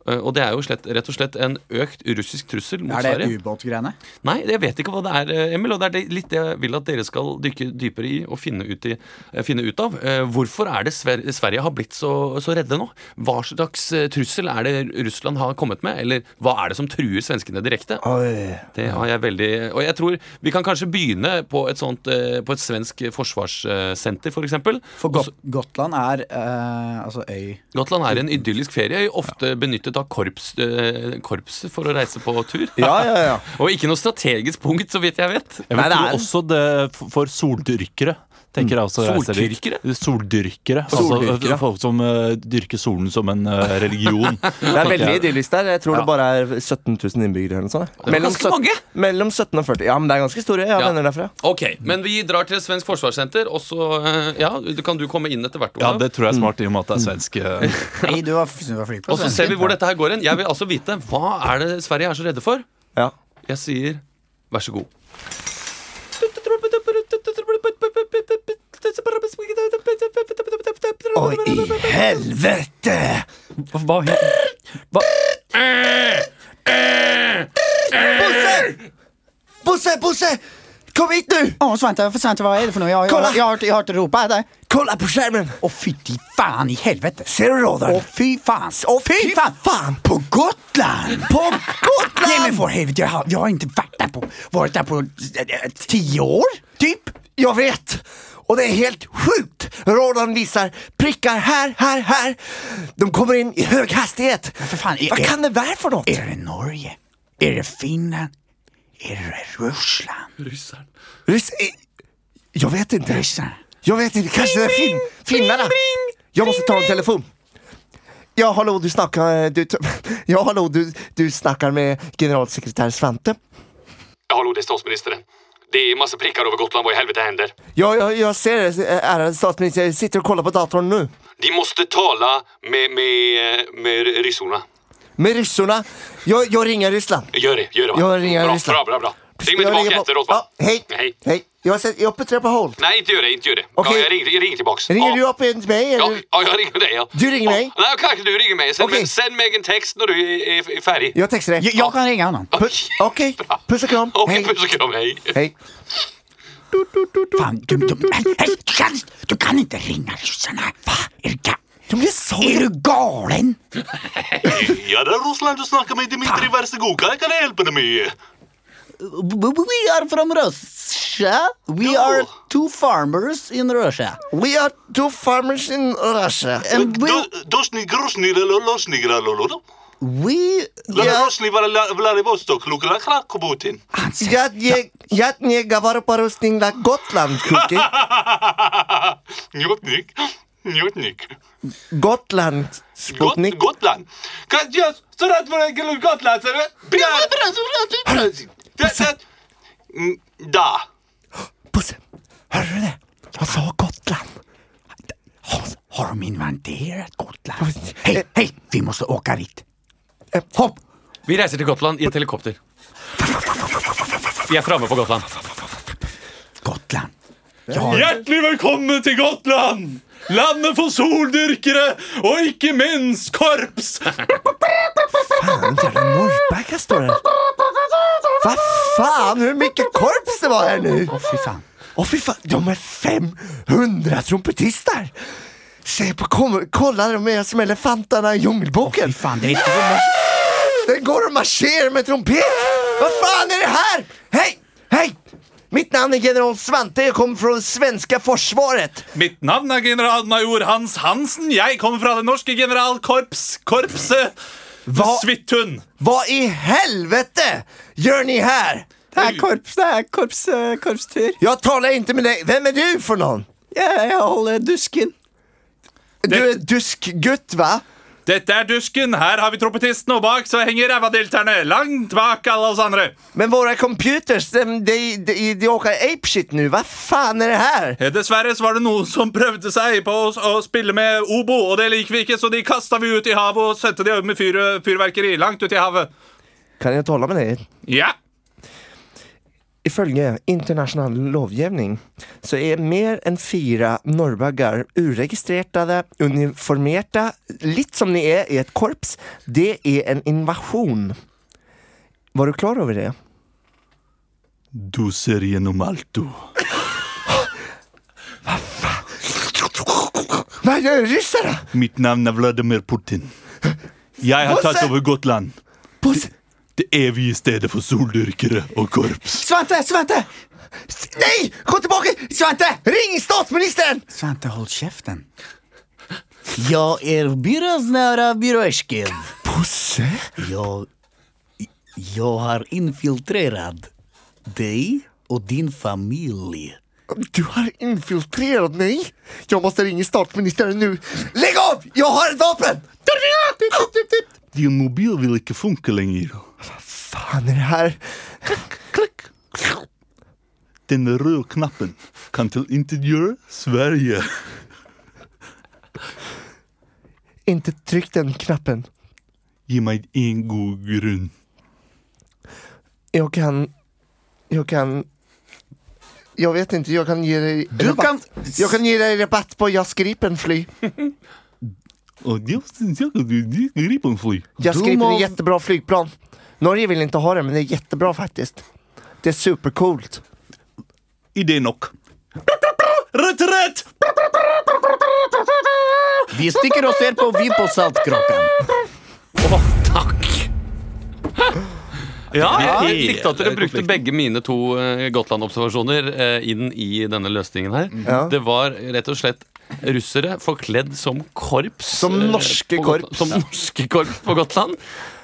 [SPEAKER 1] Eh, Og det er jo slett, rett og slett en økt russisk trussel mot
[SPEAKER 3] Er
[SPEAKER 1] Sverige.
[SPEAKER 3] det ubåtgreiene?
[SPEAKER 1] Nei, jeg vet ikke hva det er, eh, Emil. Og det er det- litt det jeg vil at dere skal dykke dypere i og finne ut, i, eh, finne ut av. Eh, Hvorfor er det Sver Sverige har blitt så, så redde nå? Hva slags eh, trussel er det Russland har kommet med? Eller hva er det som truer svenskene direkte?
[SPEAKER 4] Ah. Oi.
[SPEAKER 1] Det har jeg veldig Og jeg tror vi kan kanskje begynne på et sånt eh, På et svensk forsvarssenter, f.eks. For eksempel.
[SPEAKER 3] For
[SPEAKER 1] Og så-
[SPEAKER 3] Got Gotland er eh, altså øy
[SPEAKER 1] Gotland er en idyllisk ferieøy, ofte benyttet av korps, eh, korpset for å reise på tur.
[SPEAKER 4] Ja, ja,
[SPEAKER 1] (laughs)
[SPEAKER 4] ja.
[SPEAKER 1] Og ikke noe strategisk punkt, så vidt jeg vet.
[SPEAKER 2] Jeg
[SPEAKER 4] Nei,
[SPEAKER 2] vil
[SPEAKER 4] det
[SPEAKER 2] tro
[SPEAKER 4] er-
[SPEAKER 2] også det for- for soldyrkere. Tenker jeg også jeg ser litt.
[SPEAKER 1] Soltyrkere?
[SPEAKER 2] Soldyrkere. Altså,
[SPEAKER 4] Soldyrkere.
[SPEAKER 2] eh, folk som eh, dyrker solen som en eh, religion. (laughs)
[SPEAKER 4] Det er veldig
[SPEAKER 2] jeg.
[SPEAKER 4] idyllisk der. Jeg tror det bare er 17 000 innbyggere. eller noe sånt.
[SPEAKER 1] er ganske
[SPEAKER 4] sytt-
[SPEAKER 1] mange.
[SPEAKER 4] Mellom 17 og 40. Ja, men det er ganske store. Jeg har
[SPEAKER 1] Ja.
[SPEAKER 4] venner derfra.
[SPEAKER 1] Ok, men vi drar til et svensk forsvarssenter, og så eh, ja, du- kan du komme inn etter hvert.
[SPEAKER 2] Ja,
[SPEAKER 1] Ola.
[SPEAKER 2] det tror jeg er smart i og med at det er svensk. eh,
[SPEAKER 3] Nei, du var, synes du var flink på
[SPEAKER 1] og så ser vi
[SPEAKER 3] svensken.
[SPEAKER 1] hvor dette her går hen. Jeg vil altså vite hva er det Sverige er så redde for.
[SPEAKER 4] Ja.
[SPEAKER 1] Jeg sier vær så god.
[SPEAKER 4] Oi, i helvete!
[SPEAKER 7] Hva het
[SPEAKER 4] Bosse! Bosse, Bosse! Kom hit nu!
[SPEAKER 5] Åh, Svante, för Svante, vad är det för något? Jag,
[SPEAKER 4] Kolla!
[SPEAKER 5] jag, jag, har, hört- jag har hört ropa där.
[SPEAKER 4] Kolla på skjermen!
[SPEAKER 5] Åh fy till fan i helvete.
[SPEAKER 4] Ser du råderen?
[SPEAKER 5] Åh fy fan.
[SPEAKER 4] Åh,
[SPEAKER 5] fy fan. På Gotland!
[SPEAKER 4] På
[SPEAKER 5] Nej men
[SPEAKER 4] Gotland!
[SPEAKER 5] för helvete, jag har, jag har inte varit där på, varit där på eh, tio år, typ.
[SPEAKER 4] Jag vet! Och det är helt sjukt! Rådan visar prickar här, här, här. De kommer in i hög hastighet.
[SPEAKER 5] För fan, är,
[SPEAKER 1] e-
[SPEAKER 4] Vad
[SPEAKER 5] är,
[SPEAKER 4] kan det vara för något?
[SPEAKER 5] är det Norge? Är det Finland? Är det Ryssland?
[SPEAKER 4] Ryss- eh, Jag vet inte.
[SPEAKER 5] Ryssland.
[SPEAKER 4] Jag vet inte. Kanske det är fin finnarna. Jag måste ta en telefon. Ja, hallå, du snackar... eh, Du, t- (laughs) ja, hallå, du, du snackar med generalsekreterare Svante.
[SPEAKER 6] Hallo, det er statsministeren. Det er masse prikker over Gotland. Hva i helvete hender?
[SPEAKER 4] Ja, jag, jag ser det, eh, ärade statsminister. Jag sitter och kollar på datorn nu.
[SPEAKER 6] De måste tale med, med, med rysserne.
[SPEAKER 4] Med ryssarna. Jag, jag ringer Ryssland.
[SPEAKER 6] Gjør det. gjør det, va?
[SPEAKER 4] Jag ringer
[SPEAKER 6] bra,
[SPEAKER 4] Ryssland.
[SPEAKER 6] Bra, bra, bra. Ring meg
[SPEAKER 4] Jag ringer
[SPEAKER 6] tilbake
[SPEAKER 4] på-
[SPEAKER 6] etterpå.
[SPEAKER 4] Ja, hej.
[SPEAKER 6] Hei.
[SPEAKER 4] Hej. Jag, sätter- jag uppträder på håll.
[SPEAKER 6] Nei, ikke gjør det. ikke gjør det.
[SPEAKER 4] Ok.
[SPEAKER 6] Ja, jeg ringer, jeg ringer tilbake.
[SPEAKER 4] Ringer du opp igjen til meg,
[SPEAKER 6] Ja,
[SPEAKER 4] eller?
[SPEAKER 6] ja, jeg ringer deg, ja.
[SPEAKER 4] Du ringer meg?
[SPEAKER 6] Ja, nei, kanskje du ringer meg. Send,
[SPEAKER 4] Ok.
[SPEAKER 6] meg- send meg en tekst når du er, er, er ferdig.
[SPEAKER 4] Jeg tekster deg.
[SPEAKER 5] Jag, jag kan ringa honom.
[SPEAKER 4] Ok, puss og kram.
[SPEAKER 6] Ok,
[SPEAKER 4] Hei.
[SPEAKER 6] puss og kram. Hei.
[SPEAKER 4] Hei.
[SPEAKER 5] Fan, du, du, men, hej, du, kan, du kan inte ringa ryssarna. Va? Är du, ga- är du galen?
[SPEAKER 6] Ja, det er Russland du snakker med, Dmitrij. Vær så god. Hva kan jeg hjelpe deg med?
[SPEAKER 5] We are from Russia. We
[SPEAKER 6] No.
[SPEAKER 5] are two er farmers in Russia.
[SPEAKER 4] We are two farmers in Russia.
[SPEAKER 5] And we,
[SPEAKER 6] Dosni, grosni, lolosni, gralololo.
[SPEAKER 5] we
[SPEAKER 6] Lolosni, vladivostok, lukla, krakobotin.
[SPEAKER 4] Я не, я не говорю по-русски на Готланд, Куки.
[SPEAKER 5] (laughs)
[SPEAKER 6] Njutnik. Njutnik.
[SPEAKER 4] Готланд, Sputnik.
[SPEAKER 6] Gotland. Kan jeg så rett for deg, Gotland, ser du? Da.
[SPEAKER 4] Puss. Hører du det? Han sa Gotland.
[SPEAKER 5] Har, har de invaderat Gotland? Hej, hej, vi måste åka dit.
[SPEAKER 4] Eh,
[SPEAKER 5] Hopp!
[SPEAKER 1] Vi reiser til Gotland i et helikopter. Vi er framme på Gotland.
[SPEAKER 5] Gotland.
[SPEAKER 2] Hjertelig velkommen til Gotland! Landet for soldyrkere og ikke minst korps!
[SPEAKER 4] Faen, jævla norrberga står der. Hva faen, hvor mye korps det var her nå? Å, fy faen. Å, fy faen, De er 500 trompetister! Se på, kom, kolla, de er som elefantene i Jungelboken.
[SPEAKER 5] Fan, det är inte
[SPEAKER 4] Den går og marsjerer med trompet! Hva faen er det her? Hei! Hei! Mitt navn er general Svante. Jeg kommer fra det svenske forsvaret.
[SPEAKER 2] Mitt navn er generalmajor Hans Hansen. Jeg kommer fra det norske generalkorpskorpset
[SPEAKER 4] Hva-
[SPEAKER 2] Svithun.
[SPEAKER 4] Hva i helvete gjør ni her?
[SPEAKER 5] Det er korps, det er korps, eh, korpstur.
[SPEAKER 4] Jag talar inte med dig. Vem är du för någon?
[SPEAKER 5] Jeg, jeg holder dusken.
[SPEAKER 4] Du är duskgutt va?
[SPEAKER 2] Dette er dusken, her har vi trompetisten, og bak så henger rævadelterne. Langt bak alle oss andre.
[SPEAKER 4] Men våra computers, de, de, de, de åker apeshit nu. Vad fan är det här?
[SPEAKER 2] Eh, Dessverre så var det noen som prøvde seg på å, å spille med obo, og det liker vi ikke, så de kasta vi ut i havet og sendte de med fyr, fyrverkeri langt ut i havet.
[SPEAKER 4] Kan jag tala med dig?
[SPEAKER 2] Ja.
[SPEAKER 4] Ifølge internasjonal lovgivning så er mer enn fire nordbagger uregistrerte, uniformerte, litt som de er i et korps. Det er en invasjon. Var du klar over det?
[SPEAKER 2] Du ser gjennom alt, du.
[SPEAKER 4] Hva gjør russere?
[SPEAKER 2] Mitt navn er Vladimir Putin. Jeg har
[SPEAKER 4] tatt over
[SPEAKER 2] Gotland. Det evige stedet for soldyrkere og korps.
[SPEAKER 5] Svante, Svante!
[SPEAKER 4] Nei, gå tilbake! Svante, ring statsministeren!
[SPEAKER 5] Svante, hold kjeften. Jeg er byrådsnæra byråsken.
[SPEAKER 4] Bosse?
[SPEAKER 5] Jeg Jeg har infiltrert deg og din familie.
[SPEAKER 4] Du har infiltrert meg. Jeg må ringe statsministeren nå. Legg av! Jeg har et våpen!
[SPEAKER 2] Din mobil vil ikke funke lenger.
[SPEAKER 4] Faen er det her?
[SPEAKER 2] Den røde knappen kan tilintetgjøre Sverige.
[SPEAKER 4] Ikke trykk den knappen.
[SPEAKER 2] Gi meg en god grunn.
[SPEAKER 4] Jag kan... Jag kan... Jag vet inte, jag kan ge dig
[SPEAKER 5] Du
[SPEAKER 4] rabatt.
[SPEAKER 5] kan-
[SPEAKER 4] Jag kan ge dig rabatt på Jag skripen fly.
[SPEAKER 2] Og det syns jeg at du griper en fly.
[SPEAKER 4] Jag
[SPEAKER 5] Du
[SPEAKER 4] skripen är
[SPEAKER 5] må-
[SPEAKER 4] ett jättebra flygplan. Norge vill inte ha det, men det är jättebra faktiskt. Det är supercoolt.
[SPEAKER 2] Idé nok. Retrett!
[SPEAKER 5] Vi stikker og ser på Vi på Saltkråkan.
[SPEAKER 1] Jeg likte at dere brukte begge mine to eh, Gotland-observasjoner eh, inn i denne løsningen her.
[SPEAKER 4] Ja.
[SPEAKER 1] Det var rett og slett russere forkledd som korps.
[SPEAKER 4] Som
[SPEAKER 1] eh,
[SPEAKER 4] norske
[SPEAKER 1] på Gotland-
[SPEAKER 4] korps.
[SPEAKER 1] Som norske korps på Gotland.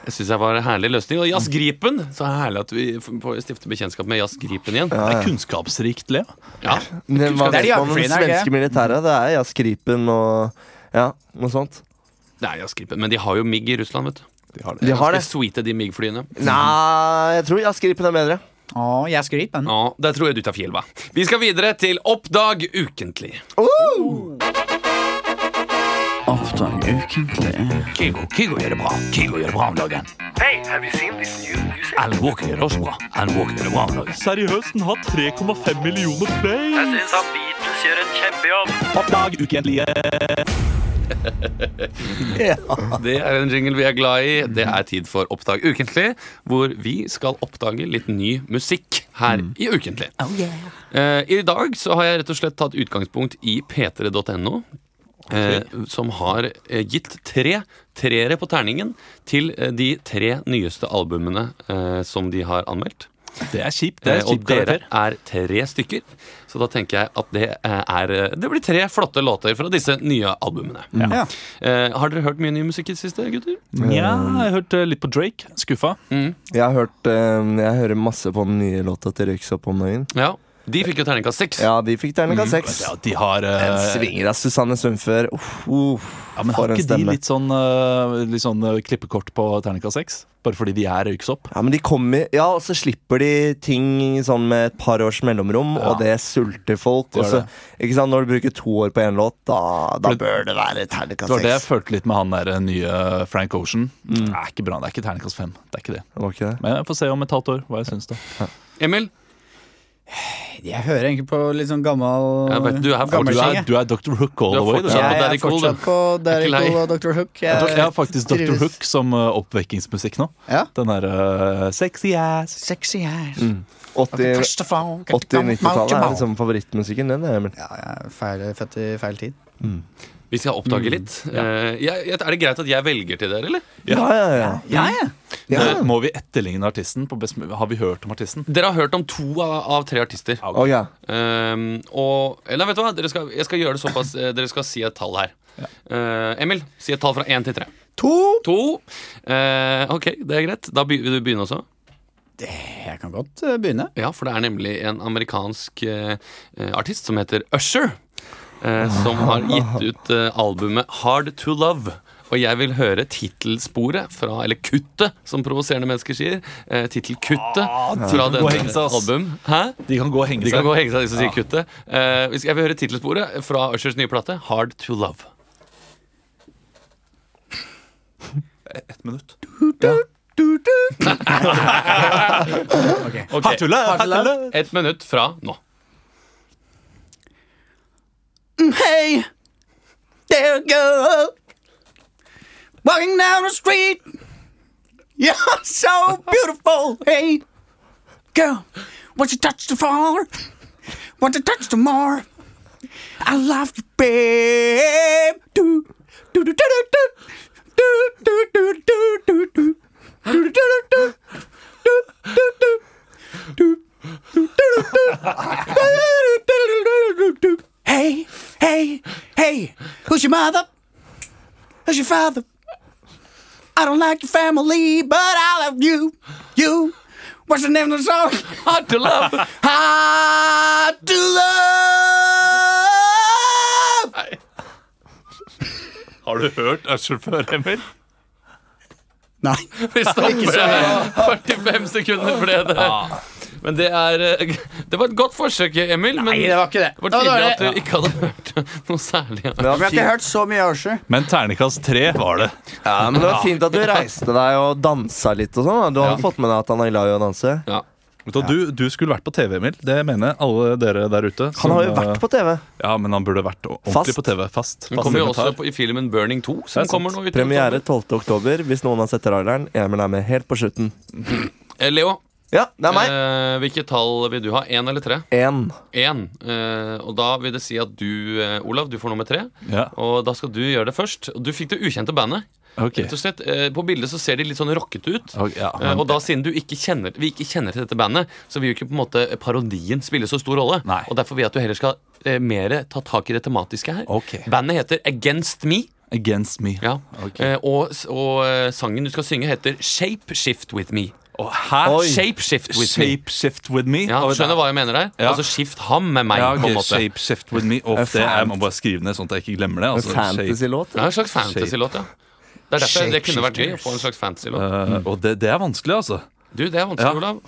[SPEAKER 1] Jeg syns jeg var en herlig løsning. Og
[SPEAKER 4] Mm.
[SPEAKER 1] Jazz Gripen. Så herlig at vi f- får stifte bekjentskap med Jazz Gripen igjen.
[SPEAKER 2] Det er kunnskapsrikt, Lea.
[SPEAKER 1] Ja.
[SPEAKER 4] Det var
[SPEAKER 5] Det er de
[SPEAKER 4] om
[SPEAKER 5] jagerflyene, er
[SPEAKER 4] den
[SPEAKER 5] det
[SPEAKER 4] svenske
[SPEAKER 5] ikke?
[SPEAKER 4] militæret, det er Jeg skripen og... Ja, noe sånt.
[SPEAKER 1] Det er Jazz Gripen. Men de har jo MIG i Russland, vet du.
[SPEAKER 4] De har det.
[SPEAKER 1] Ganske sweete, de MIG-flyene.
[SPEAKER 4] Mm. Nei, jeg tror Jeg skripen er bedre.
[SPEAKER 5] Å, jeg skriper.
[SPEAKER 1] Ja, Der tror jeg du tar fjell, hva. Vi skal videre til Oppdag ukentlig.
[SPEAKER 5] Oppdag ukentlig.
[SPEAKER 8] Kygo, Kygo gjør det bra. Kygo gjør det bra om dagen. Alan Walker gjør det også bra. Alan Walker gjør det bra om dagen.
[SPEAKER 2] Seriøst, den har 3,5 millioner play. Oppdag ukentlige.
[SPEAKER 1] Det er en jingle vi er glad i. Det er tid for Oppdag ukentlig, hvor vi skal oppdage litt ny musikk her i Ukentlig. Eh, I dag så har jeg rett og slett tatt utgangspunkt i p3.no. eh, som har eh, gitt tre treere på terningen til eh, de tre nyeste albumene eh, som de har anmeldt.
[SPEAKER 2] Det er kjipt. Det er
[SPEAKER 1] Eh, og
[SPEAKER 2] kjipt
[SPEAKER 1] dere
[SPEAKER 2] karakter.
[SPEAKER 1] er tre stykker, så da tenker jeg at det eh, er Det blir tre flotte låter fra disse nye albumene.
[SPEAKER 5] Ja.
[SPEAKER 1] Eh, har dere hørt mye ny musikk i det siste, gutter?
[SPEAKER 2] Ja,
[SPEAKER 5] Mm.
[SPEAKER 2] jeg hørte litt på Drake. Skuffa.
[SPEAKER 1] Mm.
[SPEAKER 4] Jeg har hørt eh, Jeg hører masse på den nye låta til Røyksopp om dagen.
[SPEAKER 1] Ja. De fikk jo terningkast seks.
[SPEAKER 4] Ja, de fikk terningkast seks.
[SPEAKER 2] Mm. Ja, de har eh,
[SPEAKER 4] Den svinger av Susanne Sundfør. Uh, uh,
[SPEAKER 2] Ja, men
[SPEAKER 4] for
[SPEAKER 2] Har
[SPEAKER 4] en
[SPEAKER 2] ikke de
[SPEAKER 4] stemme.
[SPEAKER 2] litt sånn, eh, litt sånn eh, klippekort på terningkast 6? Bare fordi de er røyksopp?
[SPEAKER 4] Ja, men de kommer Ja, og så slipper de ting sånn med et par års mellomrom, og det sulter folk.
[SPEAKER 2] Det
[SPEAKER 4] Og så,
[SPEAKER 2] gjør
[SPEAKER 4] ikke sant, når du bruker to år på én låt, da, da bør det være
[SPEAKER 2] Det
[SPEAKER 4] terningkast
[SPEAKER 2] var det jeg
[SPEAKER 4] seks.
[SPEAKER 2] følte litt med han der eh, nye Frank Ocean.
[SPEAKER 1] Mm.
[SPEAKER 2] Det er ikke bra, det er ikke terningkast 5. Det er ikke det.
[SPEAKER 4] Det var ikke det?
[SPEAKER 2] Men jeg får se om et halvt år hva jeg syns, da.
[SPEAKER 1] Emil,
[SPEAKER 5] Jeg hører egentlig på litt sånn gammel
[SPEAKER 1] jeg vet, du er her
[SPEAKER 2] Du
[SPEAKER 1] fortsatt.
[SPEAKER 2] er,
[SPEAKER 5] skjegget.
[SPEAKER 2] du er Dr. Hook all
[SPEAKER 1] Du
[SPEAKER 2] the
[SPEAKER 1] er
[SPEAKER 2] way.
[SPEAKER 1] fortsatt-
[SPEAKER 2] du.
[SPEAKER 1] på
[SPEAKER 5] Jeg
[SPEAKER 1] Daddy
[SPEAKER 5] er
[SPEAKER 1] Cool,
[SPEAKER 5] fortsatt
[SPEAKER 1] du.
[SPEAKER 5] på Daddy
[SPEAKER 1] Er ikke lei.
[SPEAKER 5] Cool og Dr. Hook.
[SPEAKER 2] Jeg tror-
[SPEAKER 5] Jeg,
[SPEAKER 2] eh, jeg har faktisk Dr.
[SPEAKER 5] trives.
[SPEAKER 2] Hook som eh, oppvekkingsmusikk nå.
[SPEAKER 5] Ja.
[SPEAKER 2] Den der eh, sexy ass.
[SPEAKER 5] Sexy ass.
[SPEAKER 4] 80-, 80-90-tallet er liksom favorittmusikken, den. Er, men.
[SPEAKER 5] Ja, jeg er feil, født i feil tid.
[SPEAKER 1] Vi skal
[SPEAKER 5] Mm,
[SPEAKER 1] oppdage litt. Eh, jeg, jeg- er det greit at jeg velger til dere, eller?
[SPEAKER 4] Ja, ja, ja.
[SPEAKER 5] Ja, ja.
[SPEAKER 2] Eh, Må vi etterligne artisten? På best, har vi hørt om artisten?
[SPEAKER 1] Dere har hørt om to av, av tre artister.
[SPEAKER 4] Å, ja.
[SPEAKER 1] Um, og Eller vet du hva? Dere skal, jeg skal gjøre det såpass eh, Dere skal si et tall her. Eh, Emil, si et tall fra én til tre.
[SPEAKER 5] To
[SPEAKER 1] To. Eh, ok, det er greit. Da be- vil du begynne også.
[SPEAKER 3] Det, jeg kan godt eh, begynne.
[SPEAKER 1] Ja, for det er nemlig en amerikansk eh, eh, artist som heter Usher, eh, som har gitt ut eh, albumet Hard to Love. Og jeg vil høre tittelsporet fra Eller kuttet, som provoserende mennesker sier. Eh, Tittelkuttet fra
[SPEAKER 2] Ah, gå og
[SPEAKER 1] denne
[SPEAKER 2] henge seg, ass.
[SPEAKER 1] album. Hæ?
[SPEAKER 2] De kan gå og henge
[SPEAKER 1] De kan
[SPEAKER 2] seg.
[SPEAKER 1] gå og henge seg, de som sier kuttet. Eh, hvis- jeg vil høre tittelsporet fra Ushers nye plate, Hard to Love.
[SPEAKER 2] Ett minutt.
[SPEAKER 1] Ok. Et minutt fra nå.
[SPEAKER 5] Hey, there girl, walking down the street. You're so beautiful. Hey, girl, want you touch the floor? Want you touch the more? I love you, babe. Do do do do do do do do do do do do do do do do do do do do do do. Hey, hey, hey, who's your mother? Who's your father? I don't like your family, but I love you. You. What's the name of the song? Hard to love.
[SPEAKER 1] (laughs)
[SPEAKER 5] Hard to love.
[SPEAKER 2] Har du hørt Usher før, Emil?
[SPEAKER 5] Nei.
[SPEAKER 1] Vi stopper det. 45 sekunder ble det. Men det er eh, Det var et godt forsøk, Emil. Men
[SPEAKER 3] Nei, det var ikke det.
[SPEAKER 1] Det var
[SPEAKER 3] Det var
[SPEAKER 1] tydelig at
[SPEAKER 3] dårlig.
[SPEAKER 1] du ikke hadde hørt noe særlig. av-
[SPEAKER 4] Det
[SPEAKER 5] Vi
[SPEAKER 4] var
[SPEAKER 5] har ikke
[SPEAKER 4] fint,
[SPEAKER 5] hørt så mye Usher.
[SPEAKER 2] Men terningkast tre var det.
[SPEAKER 4] ja, men det var fint at du reiste deg og dansa litt og sånn. da. Du hadde fått med deg at han er glad i å danse.
[SPEAKER 1] Ja.
[SPEAKER 2] Vet Du, hva, du, du skulle vært på TV, Emil. Det mener jeg alle dere der ute.
[SPEAKER 4] Han har jo
[SPEAKER 2] eh,
[SPEAKER 4] vært på TV.
[SPEAKER 2] Ja, men han burde vært ordentlig
[SPEAKER 4] Fast.
[SPEAKER 2] på TV. Fast.
[SPEAKER 1] Hun
[SPEAKER 2] fast
[SPEAKER 1] kommer jo
[SPEAKER 2] dokumentar.
[SPEAKER 1] også på, i filmen Burning 2, som
[SPEAKER 2] sant.
[SPEAKER 1] kommer nå. ut i
[SPEAKER 4] Premiere 12. oktober, hvis noen har sett traileren. Emil er med helt på slutten.
[SPEAKER 1] oktober. Eh, Leo,
[SPEAKER 4] Ja, det er meg.
[SPEAKER 1] eh, hvilke tall vil du ha? Én eller tre?
[SPEAKER 4] Én.
[SPEAKER 1] Én. Eh, og da vil det si at du, eh, Olav, du får nummer tre.
[SPEAKER 2] Ja,
[SPEAKER 1] Og da skal du gjøre det først. Og Du fikk det ukjente bandet.
[SPEAKER 2] ok.
[SPEAKER 1] Rett og slett, eh, På bildet så ser de litt sånn rockete ut.
[SPEAKER 2] Ok, ja,
[SPEAKER 1] Eh,
[SPEAKER 2] men-
[SPEAKER 1] Og da siden du ikke kjenner, vi ikke kjenner til dette bandet, så vil jo ikke på en måte parodien spille så stor rolle.
[SPEAKER 2] Nei.
[SPEAKER 1] Og Derfor vil jeg at du heller skal eh, mer ta tak i det tematiske her.
[SPEAKER 2] Ok.
[SPEAKER 1] Bandet heter Against Me.
[SPEAKER 2] Against me.
[SPEAKER 1] Ja.
[SPEAKER 2] Ok.
[SPEAKER 1] Eh, og s- og eh, sangen du skal synge, heter Shape Shift With Me.
[SPEAKER 2] Å, hæ?
[SPEAKER 4] Oi.
[SPEAKER 1] Shape Shift With Me.
[SPEAKER 2] Shape shift with me.
[SPEAKER 1] Ja,
[SPEAKER 2] Oi,
[SPEAKER 1] du skjønner hva jeg mener der?
[SPEAKER 2] Ja.
[SPEAKER 1] Altså skift ham med meg.
[SPEAKER 2] ja,
[SPEAKER 1] på
[SPEAKER 2] ok,
[SPEAKER 1] en måte.
[SPEAKER 2] Shape shift with me. Og
[SPEAKER 4] En
[SPEAKER 2] det, jeg
[SPEAKER 4] fan-
[SPEAKER 2] må bare skrive ned, sånn at jeg ikke glemmer det.
[SPEAKER 4] En
[SPEAKER 2] Altså, shape.
[SPEAKER 4] fantasy-låt.
[SPEAKER 1] Det er en slags fantasy-låt, ja. Det, er derfor, det kunne vært gøy å få en slags fantasy-låt.
[SPEAKER 2] Eh, og det, det er vanskelig, altså.
[SPEAKER 1] Du, det er vanskelig,
[SPEAKER 2] Ja.
[SPEAKER 1] Olav.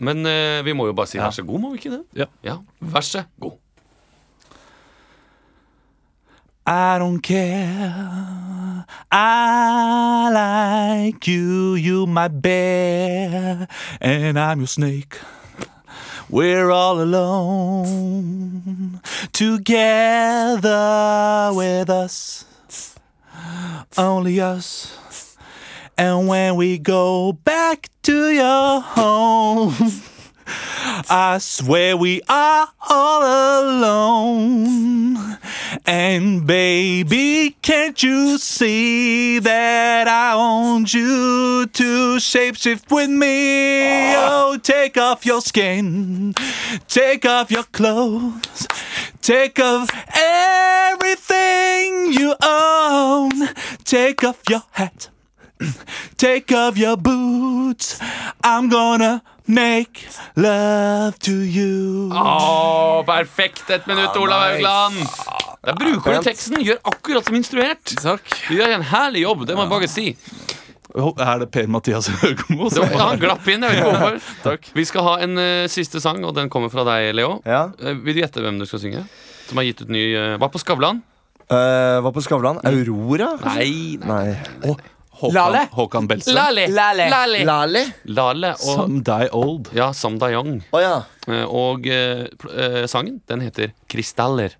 [SPEAKER 1] Men eh, vi må jo bare si vær så god, må vi ikke det?
[SPEAKER 2] Ja.
[SPEAKER 1] ja. Vær så god.
[SPEAKER 2] I don't care. I like you, you my bear, and I'm your snake. We're all alone together with us, only us. And when we go back to your home, I swear we are all alone. And baby, can't you see that I want you to shapeshift with me? Oh, take off your skin, take off your clothes, take off everything you own, take off your hat. Take off your boots. I'm gonna make love to you.
[SPEAKER 1] Åh, perfekt! Ett minutt, Olav
[SPEAKER 4] nice.
[SPEAKER 1] Haugland. Der bruker
[SPEAKER 4] Pent.
[SPEAKER 1] du teksten. Gjør akkurat som instruert. Du gjør en herlig jobb, det må jeg bare si.
[SPEAKER 2] Er det Per-Mathias Høgmo?
[SPEAKER 1] Det var, han glapp inn, jeg vet ikke hvorfor. Vi skal ha en eh, siste sang, og den kommer fra deg, Leo.
[SPEAKER 4] Ja.
[SPEAKER 1] Eh, vil du gjette hvem du skal synge? Som har gitt ut ny eh, Var på Skavlan?
[SPEAKER 4] Eh, var på Skavlan. Aurora?
[SPEAKER 1] Nei, nei.
[SPEAKER 4] Nei.
[SPEAKER 2] Håkan,
[SPEAKER 5] Lale?
[SPEAKER 2] Håkan Belsen.
[SPEAKER 1] Lale.
[SPEAKER 5] Lale.
[SPEAKER 1] Lale.
[SPEAKER 4] Lali?
[SPEAKER 1] Lale og
[SPEAKER 2] Some die old.
[SPEAKER 1] ja, Sam Dayong.
[SPEAKER 4] Å ja.
[SPEAKER 1] Eh, og eh, pl- eh, sangen, den heter Kristaller.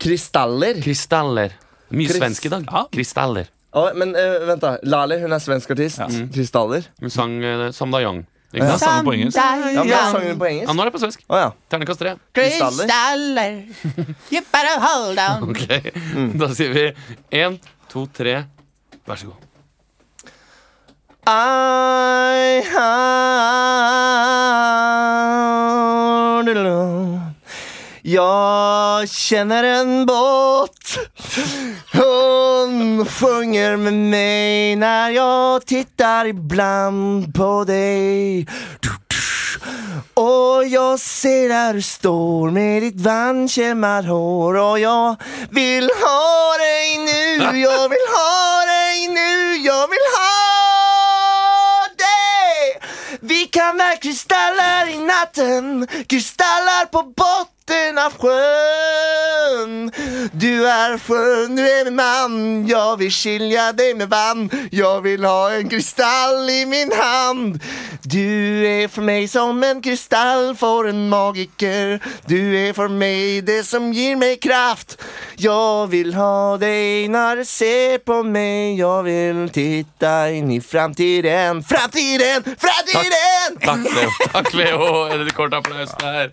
[SPEAKER 4] Kristaller.
[SPEAKER 1] Kristaller. Mye
[SPEAKER 4] Krist-
[SPEAKER 1] svensk i dag.
[SPEAKER 2] Ja.
[SPEAKER 1] Kristaller.
[SPEAKER 4] Å, men eh, vent, da. Lali, hun er svensk artist. Kristaller.
[SPEAKER 1] Hun sang eh, Sam Dayong. Ikke
[SPEAKER 2] Ja,
[SPEAKER 1] sant?
[SPEAKER 2] samme på engelsk.
[SPEAKER 4] Ja, men da sang hun på
[SPEAKER 1] Ja,
[SPEAKER 4] engelsk.
[SPEAKER 1] nå er det på svensk.
[SPEAKER 4] Å ja.
[SPEAKER 1] Ternekast tre.
[SPEAKER 4] Kristaller.
[SPEAKER 5] Kristaller. You better hold on.
[SPEAKER 1] Ok,
[SPEAKER 4] Mm.
[SPEAKER 1] Da sier vi én, to, tre. Vær så god.
[SPEAKER 4] I had a long- Jeg kjenner en båt Hun som sjunger med mig när jag tittar ibland på dig du, du. Och jag ser där du står med ditt vandkämmarhår och jag vill ha dig nu, jag vill ha dig nu, jag vill ha dig Vi kammar kristaller i natten, kristaller på botten av sjön Du är skön, du är min man, jag vill skilja dig med vann Jag vill ha en kristall i min hand Du är för mig som en kristall för en magiker Du är för mig det som ger mig kraft Jag vill ha dig när du ser på mig Jag vill titta in i framtiden Framtiden, framtiden!
[SPEAKER 1] Takk,
[SPEAKER 4] (laughs)
[SPEAKER 1] Leo. Takk, Leo. En kort applaus der.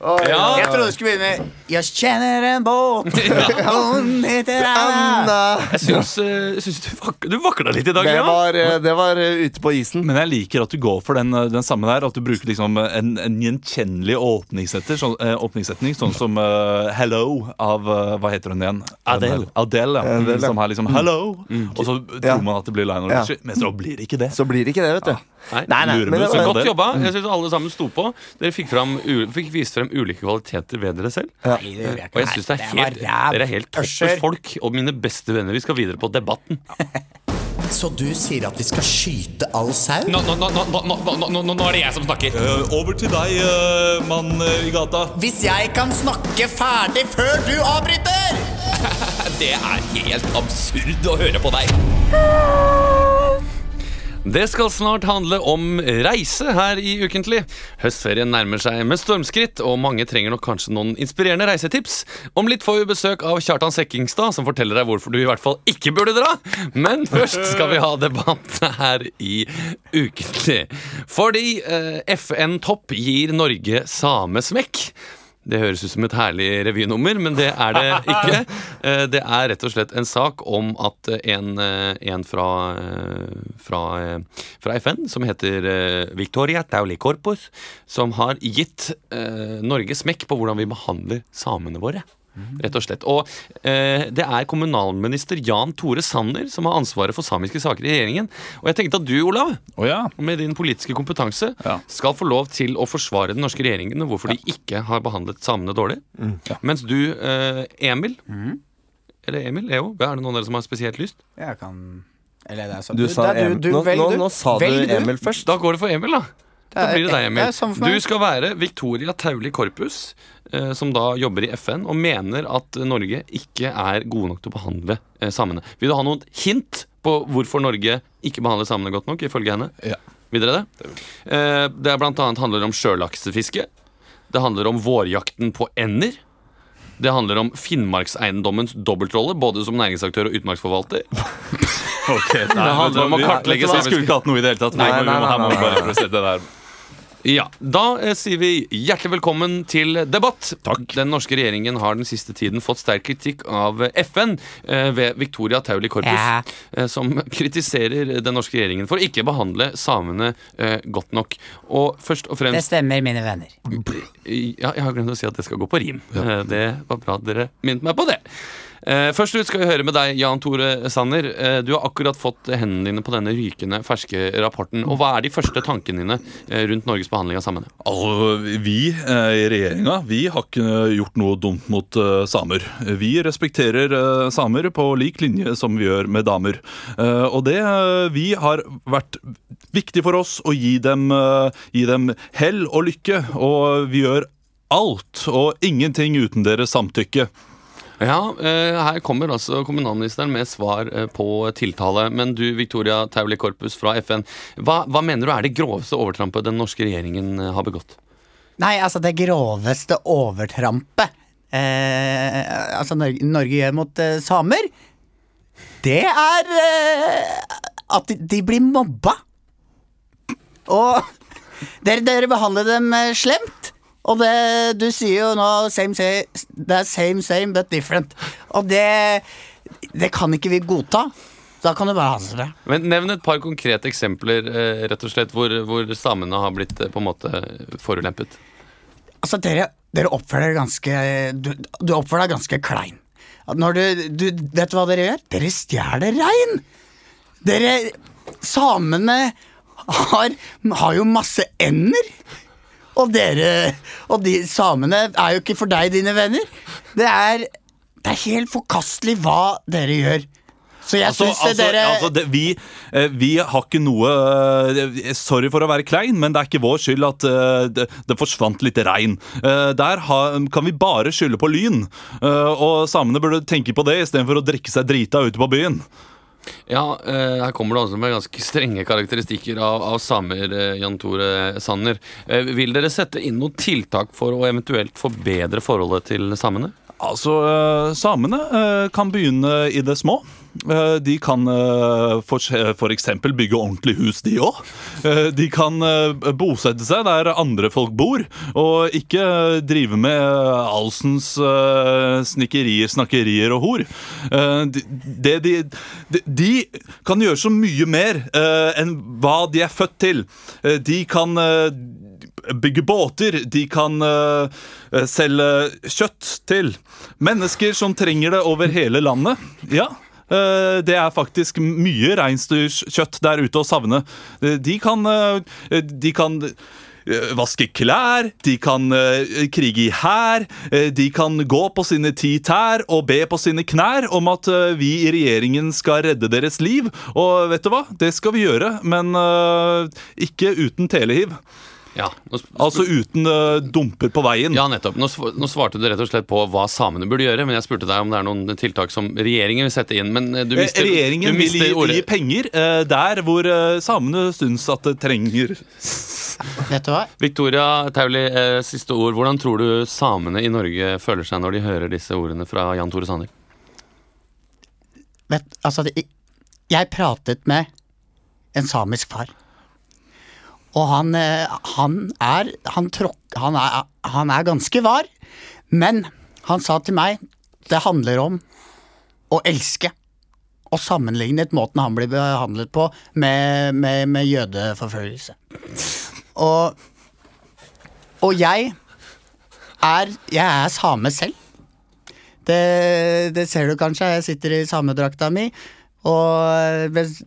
[SPEAKER 5] Jeg
[SPEAKER 1] Ja.
[SPEAKER 5] trodde du skulle begynne med Jeg kjenner en
[SPEAKER 4] (laughs)
[SPEAKER 5] båt, hun heter Anna.
[SPEAKER 4] Anna!
[SPEAKER 1] Jeg syns, eh, jeg syns du, vak du vakla litt i dag,
[SPEAKER 4] Det
[SPEAKER 1] Leo.
[SPEAKER 4] var, eh, det var eh, ute på isen.
[SPEAKER 2] Men jeg liker at du går for den, eh, den samme der. At du bruker liksom eh, en, en gjenkjennelig åpningssetter, sånn, eh, åpningssetning. Sånn som eh, 'Hello' av eh, Hva heter hun igjen?
[SPEAKER 1] Adele.
[SPEAKER 2] Adele, ja.
[SPEAKER 4] Adele, ja.
[SPEAKER 2] Som har liksom 'Hello', og så
[SPEAKER 4] Ja.
[SPEAKER 2] tror man at det blir Lionel
[SPEAKER 4] Ja.
[SPEAKER 2] Richie. Men så blir det ikke det.
[SPEAKER 4] Så blir det ikke det, vet du.
[SPEAKER 1] Nei.
[SPEAKER 2] lurer
[SPEAKER 4] men
[SPEAKER 1] Så
[SPEAKER 2] meg
[SPEAKER 4] det var- Mm.
[SPEAKER 2] sånn.
[SPEAKER 1] godt jobba. Jeg synes alle sammen sto på. Dere fikk, fram, u- fikk vist frem ulike kvaliteter ved dere selv.
[SPEAKER 5] Nei, det gjør jeg
[SPEAKER 1] Og
[SPEAKER 5] ikke.
[SPEAKER 1] jeg synes det er
[SPEAKER 5] Nei,
[SPEAKER 1] helt,
[SPEAKER 5] var ræv.
[SPEAKER 1] Dere er helt toppers
[SPEAKER 5] Tørser.
[SPEAKER 1] folk og mine beste venner. Vi skal videre på Debatten.
[SPEAKER 9] Så du sier at vi skal skyte all sau?
[SPEAKER 1] Nå, nå, nå, nå, nå, nå, nå, nå, nå er det jeg som snakker.
[SPEAKER 2] Eh, over til deg, eh, mann i gata.
[SPEAKER 9] Hvis jeg kan snakke ferdig før du avbryter!
[SPEAKER 1] Det er helt absurd å høre på deg. Det skal snart handle om reise her i Ukentlig. Høstferien nærmer seg med stormskritt, og mange trenger nok kanskje noen inspirerende reisetips. Om litt får vi besøk av Kjartan Sekkingstad, som forteller deg hvorfor du i hvert fall ikke burde dra. Men først skal vi ha debatt her i Ukentlig. Fordi eh, FN Topp gir Norge samesmekk. Det høres ut som et herlig revynummer, men det er det ikke. Eh, Det er rett og slett en sak om at en, eh, en fra, eh, fra, eh, fra FN, som heter eh, Victoria Tauli Korpus, som har gitt eh, Norge smekk på hvordan vi behandler samene våre. Rett og slett. Og eh, det er kommunalminister Jan Tore Sanner som har ansvaret for samiske saker i regjeringen. Og jeg tenkte at du, Olav,
[SPEAKER 2] Å ja.
[SPEAKER 1] og med din politiske kompetanse
[SPEAKER 2] Ja.
[SPEAKER 1] skal få lov til å forsvare den norske regjeringen og hvorfor de ikke har behandlet samene dårlig. Mens du, eh, Emil Eller Emil, Leo, er det noen av dere som har spesielt lyst?
[SPEAKER 5] Jeg kan Eller det er sånn
[SPEAKER 4] Du sa
[SPEAKER 5] det er
[SPEAKER 4] Em- nå,
[SPEAKER 5] velg
[SPEAKER 4] nå, nå sa du
[SPEAKER 5] Velg
[SPEAKER 4] Emil først.
[SPEAKER 1] Da går det for Emil, da. Da
[SPEAKER 5] Det er-
[SPEAKER 1] blir det deg,
[SPEAKER 5] det er samme for meg.
[SPEAKER 1] Emil. Du skal være Victoria Tauli Korpus, eh, som da jobber i FN og mener at Norge ikke er gode nok til å behandle eh, samene. Vil du ha noen hint på hvorfor Norge ikke behandler samene godt nok, ifølge henne?
[SPEAKER 2] Ja.
[SPEAKER 1] Vil dere det? Eh, Det er blant annet handler om sjølaksefiske. Det handler om vårjakten på ender. Det handler om Finnmarkseiendommens dobbeltrolle, både som næringsaktør og utmarksforvalter.
[SPEAKER 2] Okay, nei,
[SPEAKER 1] handler
[SPEAKER 2] vet du hva,
[SPEAKER 1] om å
[SPEAKER 2] vi-
[SPEAKER 1] kartlegge
[SPEAKER 2] vet du hva, Vi
[SPEAKER 1] samiske-
[SPEAKER 2] skulle ikke hatt noe i det hele tatt.
[SPEAKER 4] Nei,
[SPEAKER 2] vi må, vi
[SPEAKER 4] nei,
[SPEAKER 2] må,
[SPEAKER 4] nei,
[SPEAKER 2] her må
[SPEAKER 4] nei,
[SPEAKER 2] vi
[SPEAKER 4] nei,
[SPEAKER 2] bare prestere det der.
[SPEAKER 1] Ja, Da eh, sier vi hjertelig velkommen til debatt. Den norske regjeringen har den siste tiden fått sterk kritikk av eh, FN eh, ved Victoria Tauli Korpus, eh, som (laughs) kritiserer den norske regjeringen for å ikke behandle samene eh, godt nok. Og først og fremst
[SPEAKER 5] stemmer, mine venner.
[SPEAKER 1] ja, jeg har glemt å si at det skal gå på rim. Eh, Det var bra at dere minnet meg på det. Eh, Først ut skal vi høre med deg, Jan Tore Sanner. Eh, Du har akkurat fått hendene dine på denne rykende ferske rapporten. Og hva er de første tankene dine eh, rundt Norges behandling av samene?
[SPEAKER 2] Altså, vi eh, i regjeringa vi har ikke gjort noe dumt mot eh, samer. Vi respekterer eh, samer på lik linje som vi gjør med damer. Eh, og det eh, vi har vært viktig for oss å gi dem, eh, gi dem hell og lykke. Og vi gjør alt og ingenting uten deres samtykke.
[SPEAKER 1] Ja, eh, her kommer altså kommunalministeren med svar eh, på tiltale. Men du, Victoria Tauli Korpus fra FN, hva, hva mener du er det groveste overtrampet den norske regjeringen eh, har begått?
[SPEAKER 5] Nei, altså det groveste overtrampet eh, altså Norge, Norge gjør mot eh, samer, det er eh, at de, de blir mobba. Og dere, dere behandler dem eh, slemt. Og det, du sier jo nå same, same, det er same, same, but different. Og det, det kan ikke vi godta. Da kan du bare handle det.
[SPEAKER 1] Men Nevn et par konkrete eksempler eh, rett og slett, hvor, hvor samene har blitt eh, på en måte forulempet.
[SPEAKER 5] Altså, dere, dere oppfører dere ganske du, du oppfører deg ganske klein. at når du, du Vet du hva dere gjør? Dere stjeler rein! Dere Samene har, har jo masse ender. Og dere Og de samene er jo ikke for deg, dine venner. Det er Det er helt forkastelig hva dere gjør. Så jeg
[SPEAKER 2] Altså,
[SPEAKER 5] synes syns
[SPEAKER 2] altså,
[SPEAKER 5] dere
[SPEAKER 2] altså det, vi, eh, vi har ikke noe eh, Sorry for å være klein, men det er ikke vår skyld at eh, det, det forsvant litt regn. Eh, Der har- kan vi bare skylde på lyn. Eh, Og samene burde tenke på det istedenfor å drikke seg drita ute på byen.
[SPEAKER 1] Ja, eh, her kommer det altså med ganske strenge karakteristikker av, av samer, eh, Jan Tore Sanner. Eh, vil dere sette inn noen tiltak for å eventuelt forbedre forholdet til samene?
[SPEAKER 2] Altså, eh, samene eh, kan begynne i det små. Eh, De kan eh, for, for eksempel bygge ordentlig hus, de òg. De kan eh, bosette seg der andre folk bor, og ikke eh, drive med eh, allsens eh, snikkerier, snakkerier og hor. Eh, De, det de, de, de kan gjøre så mye mer eh, enn hva de er født til. Eh, De kan eh, bygge båter, de kan eh, eh, selge kjøtt til mennesker som trenger det over hele landet. Ja, eh, det er faktisk mye reinsdyrkjøtt der ute å savne. Eh, de kan, eh, de kan eh, Vaske klær, de kan eh, krige i hær, eh, de kan gå på sine ti tær og be på sine knær om at eh, vi i regjeringen skal redde deres liv. Og vet du hva? Det skal vi gjøre, men eh, ikke uten telehiv.
[SPEAKER 1] Ja, nå sp-
[SPEAKER 2] Altså uten eh, dumper på veien.
[SPEAKER 1] Ja, nettopp. Nå, sv- nå svarte du rett og slett på hva samene burde gjøre, men jeg spurte deg om det er noen tiltak som regjeringen vil sette inn. Men eh, du
[SPEAKER 2] Eh,
[SPEAKER 1] mister,
[SPEAKER 2] Regjeringen
[SPEAKER 1] du
[SPEAKER 2] vil
[SPEAKER 1] mister
[SPEAKER 2] gi,
[SPEAKER 1] ordet.
[SPEAKER 2] gi penger eh, der hvor eh, samene syns at det trenger
[SPEAKER 5] Vet du hva?
[SPEAKER 1] Victoria Tauli, eh, siste ord. Hvordan tror du samene i Norge føler seg når de hører disse ordene fra Jan Tore Sanner?
[SPEAKER 5] Vet, altså, det, jeg pratet med en samisk far. Og han, eh, han er han, tråk, han, er, han er ganske var, men han sa til meg det handler om å elske. Og sammenlignet måten han blir behandlet på med, med, med jødeforfølgelse. Og, og jeg er, jeg er same selv. Det, det ser du kanskje, jeg sitter i samedrakta mi, og mens-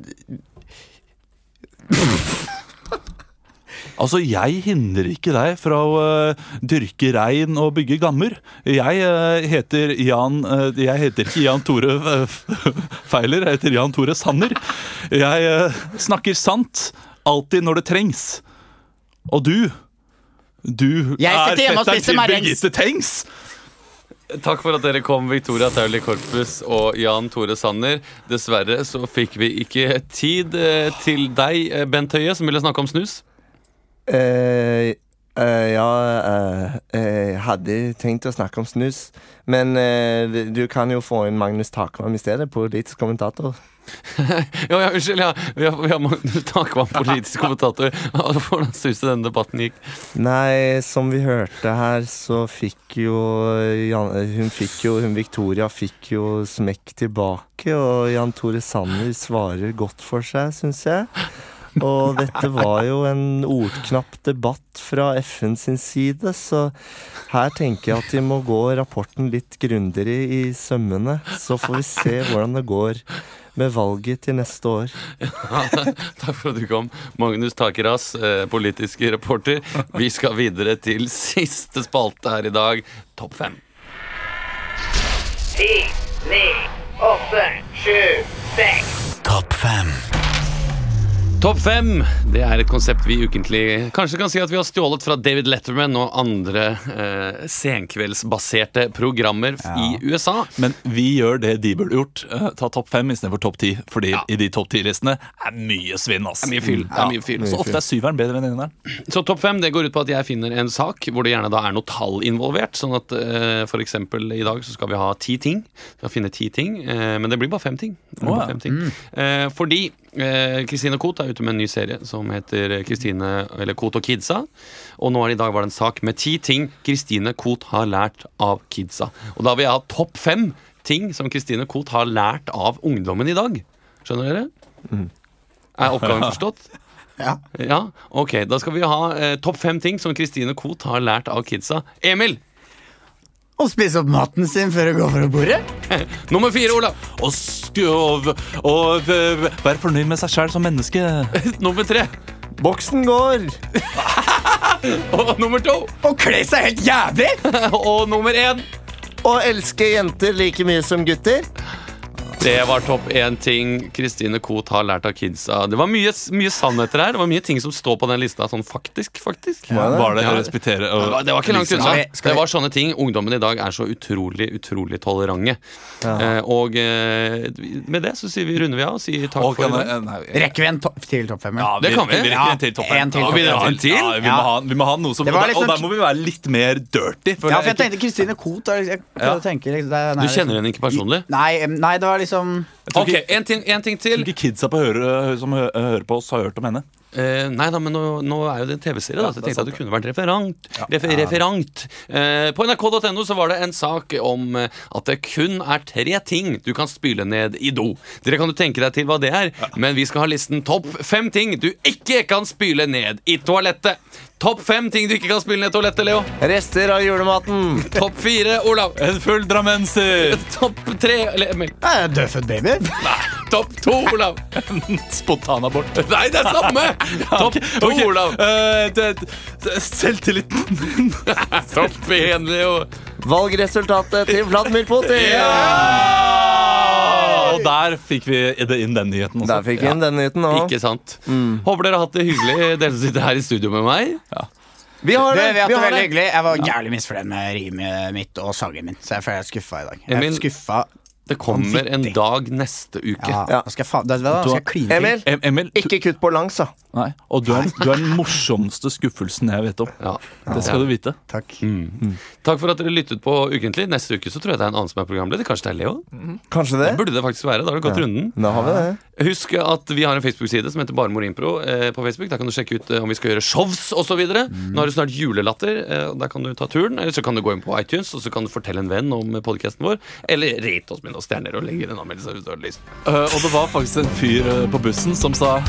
[SPEAKER 2] Altså, jeg hindrer ikke deg fra å eh, dyrke rein og bygge gammer. Jeg eh, heter Jan eh, Jeg heter ikke Jan Tore eh, Feiler, jeg heter Jan Tore Sanner. Jeg eh, snakker sant alltid når det trengs. Og du du
[SPEAKER 5] Jeg sitter hjemme og spiser
[SPEAKER 2] til
[SPEAKER 5] marengs.
[SPEAKER 2] Birgitte Tengs!
[SPEAKER 1] Takk for at dere kom, Victoria Tauli Korpus og Jan Tore Sanner. Dessverre så fikk vi ikke tid eh, til deg, eh, Bent Høie, som ville snakke om snus.
[SPEAKER 4] Eh, eh, ja, eh, jeg hadde tenkt å snakke om snus, men eh, du kan jo få inn Magnus Takvam i stedet, politisk kommentator.
[SPEAKER 1] Ja, ja, unnskyld, ja. Vi har, vi har (laughs) Magnus Takvam, politisk kommentator. (laughs) Hvordan syns du denne debatten gikk?
[SPEAKER 4] Nei, som vi hørte her, så fikk jo Jan, Hun fikk jo Hun Victoria fikk jo smekk tilbake, og Jan Tore Sanner svarer godt for seg, syns jeg. Og dette var jo en ordknapp debatt fra FN sin side, så her tenker jeg at de må gå rapporten litt grundigere i sømmene. Så får vi se hvordan det går med valget til neste år.
[SPEAKER 1] (laughs) Takk for at du kom, Magnus Takeras, eh, politisk reporter. Vi skal videre til siste spalte her i dag, Topp fem. Topp fem det er et konsept vi ukentlig kanskje kan si at vi har stjålet fra David Letterman og andre eh, senkveldsbaserte programmer f- i USA.
[SPEAKER 2] Men vi gjør det de burde gjort. Eh, Ta topp fem istedenfor topp ti. Fordi i de topp ti-listene er mye svinn. ass
[SPEAKER 1] Det er mye fyll. Det er mye fyll.
[SPEAKER 2] Så ofte er syveren bedre enn eneren.
[SPEAKER 1] Så topp fem det går ut på at jeg finner en sak hvor det gjerne da er noe tall involvert. Sånn at eh, for eksempel i dag så skal vi ha ti ting. Vi skal finne ti ting, eh, men det blir bare fem ting. Det blir
[SPEAKER 2] Å,
[SPEAKER 1] bare
[SPEAKER 2] ja. Mm.
[SPEAKER 1] fem ting. Eh, fordi Kristine Koht er ute med en ny serie som heter Kristine, eller Koht og kidsa. Og nå er det i dag var det en sak med ti ting Kristine Koht har lært av kidsa. Og da vil jeg ha topp fem ting som Kristine Koht har lært av ungdommen i dag. Skjønner dere?
[SPEAKER 2] Mm.
[SPEAKER 1] Er oppgaven
[SPEAKER 2] (laughs)
[SPEAKER 1] forstått?
[SPEAKER 5] Ja.
[SPEAKER 1] Ja, ok, Da skal vi ha eh, topp fem ting som Kristine Koht har lært av kidsa. Emil!
[SPEAKER 5] Og spise opp maten sin før du går fra bordet?
[SPEAKER 1] (laughs) Nummer fire, Olav. (laughs)
[SPEAKER 2] Og, sku- og, og, og være fornøyd med seg sjæl som menneske.
[SPEAKER 1] Nummer tre. (laughs)
[SPEAKER 4] Boksen går.
[SPEAKER 1] Og nummer to.
[SPEAKER 5] Å kle seg helt jævlig?
[SPEAKER 1] (laughs) Og nummer én.
[SPEAKER 4] Å elske jenter like mye som gutter.
[SPEAKER 1] Det var topp én ting Kristine Koht har lært av kidsa. Det var mye, mye sannheter her. Det var mye ting som står på den lista sånn faktisk, faktisk.
[SPEAKER 2] Var det
[SPEAKER 1] Ja.
[SPEAKER 2] å respektere
[SPEAKER 1] Det var,
[SPEAKER 2] og
[SPEAKER 1] det var ikke langt unna.
[SPEAKER 5] Skal vi- skal vi-
[SPEAKER 1] Det var sånne ting. Ungdommen i dag er så utrolig, utrolig tolerante. Eh, og eh, med det så sier vi, runder vi av og sier takk
[SPEAKER 2] Og
[SPEAKER 1] for i
[SPEAKER 2] kan
[SPEAKER 1] dag.
[SPEAKER 2] jeg- nei, jeg-
[SPEAKER 5] Rekker vi en topp til topp fem?
[SPEAKER 2] Ja,
[SPEAKER 1] det kan vi.
[SPEAKER 2] rekker en til topp fem.
[SPEAKER 5] en til
[SPEAKER 2] Ja,
[SPEAKER 5] topp
[SPEAKER 2] vi
[SPEAKER 5] fem.
[SPEAKER 2] må ha en til. Ja, vi, må
[SPEAKER 5] Ja.
[SPEAKER 2] ha, vi må ha noe som
[SPEAKER 5] Det var
[SPEAKER 2] og der- Og
[SPEAKER 5] liksom-
[SPEAKER 2] der må vi være litt mer dirty. føler
[SPEAKER 5] Ja, for jeg
[SPEAKER 2] ikke-
[SPEAKER 5] tenkte Kristine Koht er liksom- jeg prøvde å tenke, liksom, det er-
[SPEAKER 1] Du kjenner henne ikke personlig?
[SPEAKER 5] Nei, em, nei, det var liksom
[SPEAKER 1] Ok, en ting, en ting til.
[SPEAKER 2] ikke kidsa på høre, som hø- hører på oss, har hørt om henne.
[SPEAKER 1] Eh, nei da, men nå, nå er jo det en TV-serie, da, så jeg tenkte at du kunne vært referant. Refer, referant. Eh, på nrk.no så var det en sak om eh, at det kun er tre ting du kan spyle ned i do. Dere kan jo tenke deg til hva det er, men vi skal ha listen topp fem ting du ikke kan spyle ned i toalettet. Topp fem ting du ikke kan spyle ned i toalettet, Leo.
[SPEAKER 4] Rester av julematen.
[SPEAKER 1] Topp fire, Olav.
[SPEAKER 2] En full
[SPEAKER 1] (laughs)
[SPEAKER 2] drammenser!
[SPEAKER 1] Topp tre, eller Emil.
[SPEAKER 4] Eh,
[SPEAKER 5] Nei, det er Dødfødt baby.
[SPEAKER 1] Nei, topp to, Olav.
[SPEAKER 2] Spontanabort.
[SPEAKER 1] Nei, det er
[SPEAKER 2] (laughs)
[SPEAKER 1] samme! Topp to,
[SPEAKER 2] Ok,
[SPEAKER 1] Olav.
[SPEAKER 2] eh, det- det- Selvtilliten.
[SPEAKER 1] (laughs) Topp én, Leo.
[SPEAKER 4] Valgresultatet til Vladimir Putin.
[SPEAKER 2] Ah, Og der fikk vi det inn den nyheten Mm. også.
[SPEAKER 4] Der fikk vi inn den nyheten òg.
[SPEAKER 1] Ikke sant. Håper dere har hatt det hyggelig, dere som sitter her i studio med meg.
[SPEAKER 4] Vi har
[SPEAKER 5] Du,
[SPEAKER 4] det.
[SPEAKER 5] vi har hatt
[SPEAKER 4] Vi
[SPEAKER 5] det
[SPEAKER 4] har
[SPEAKER 5] veldig
[SPEAKER 4] det.
[SPEAKER 5] hyggelig. Jeg var jævlig misfornøyd med rimet mitt og sangen min, så jeg føler jeg er skuffa i dag. Jeg er
[SPEAKER 1] Emil-
[SPEAKER 5] skuffa.
[SPEAKER 1] Det kommer en dag neste uke.
[SPEAKER 5] Ja,
[SPEAKER 4] Ja.
[SPEAKER 5] Nå skal jeg faen Vet du hva, nå skal jeg kline til.
[SPEAKER 4] Emil,
[SPEAKER 2] Em- Emil, du,
[SPEAKER 4] ikke kutt på langs, da.
[SPEAKER 2] nei, og du er, du er den morsomste skuffelsen jeg vet om.
[SPEAKER 1] Ja.
[SPEAKER 2] Det skal du vite.
[SPEAKER 1] Takk for at dere lyttet på Ukentlig. Neste uke så tror jeg det er en annen som er programleder. Kanskje det er Leo?
[SPEAKER 2] Mm.
[SPEAKER 4] Kanskje det?
[SPEAKER 1] Burde det faktisk være. Da har du gått runden.
[SPEAKER 4] Da har vi det.
[SPEAKER 1] Husk at vi har en Facebook-side som heter Barmor Impro eh, på Facebook. Der kan du sjekke ut eh, om vi skal gjøre shows osv. videre Nå har du snart julelatter. Eh, og der kan du ta turen. Eller så kan du gå inn på iTunes og så kan du fortelle en venn om podkasten vår. Eller rate oss med noen stjerner og legge inn en anmeldelse hvis du har lyst.
[SPEAKER 2] Eh, og det var faktisk en fyr eh, på bussen som sa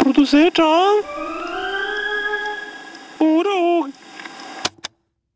[SPEAKER 6] Produsert av Oro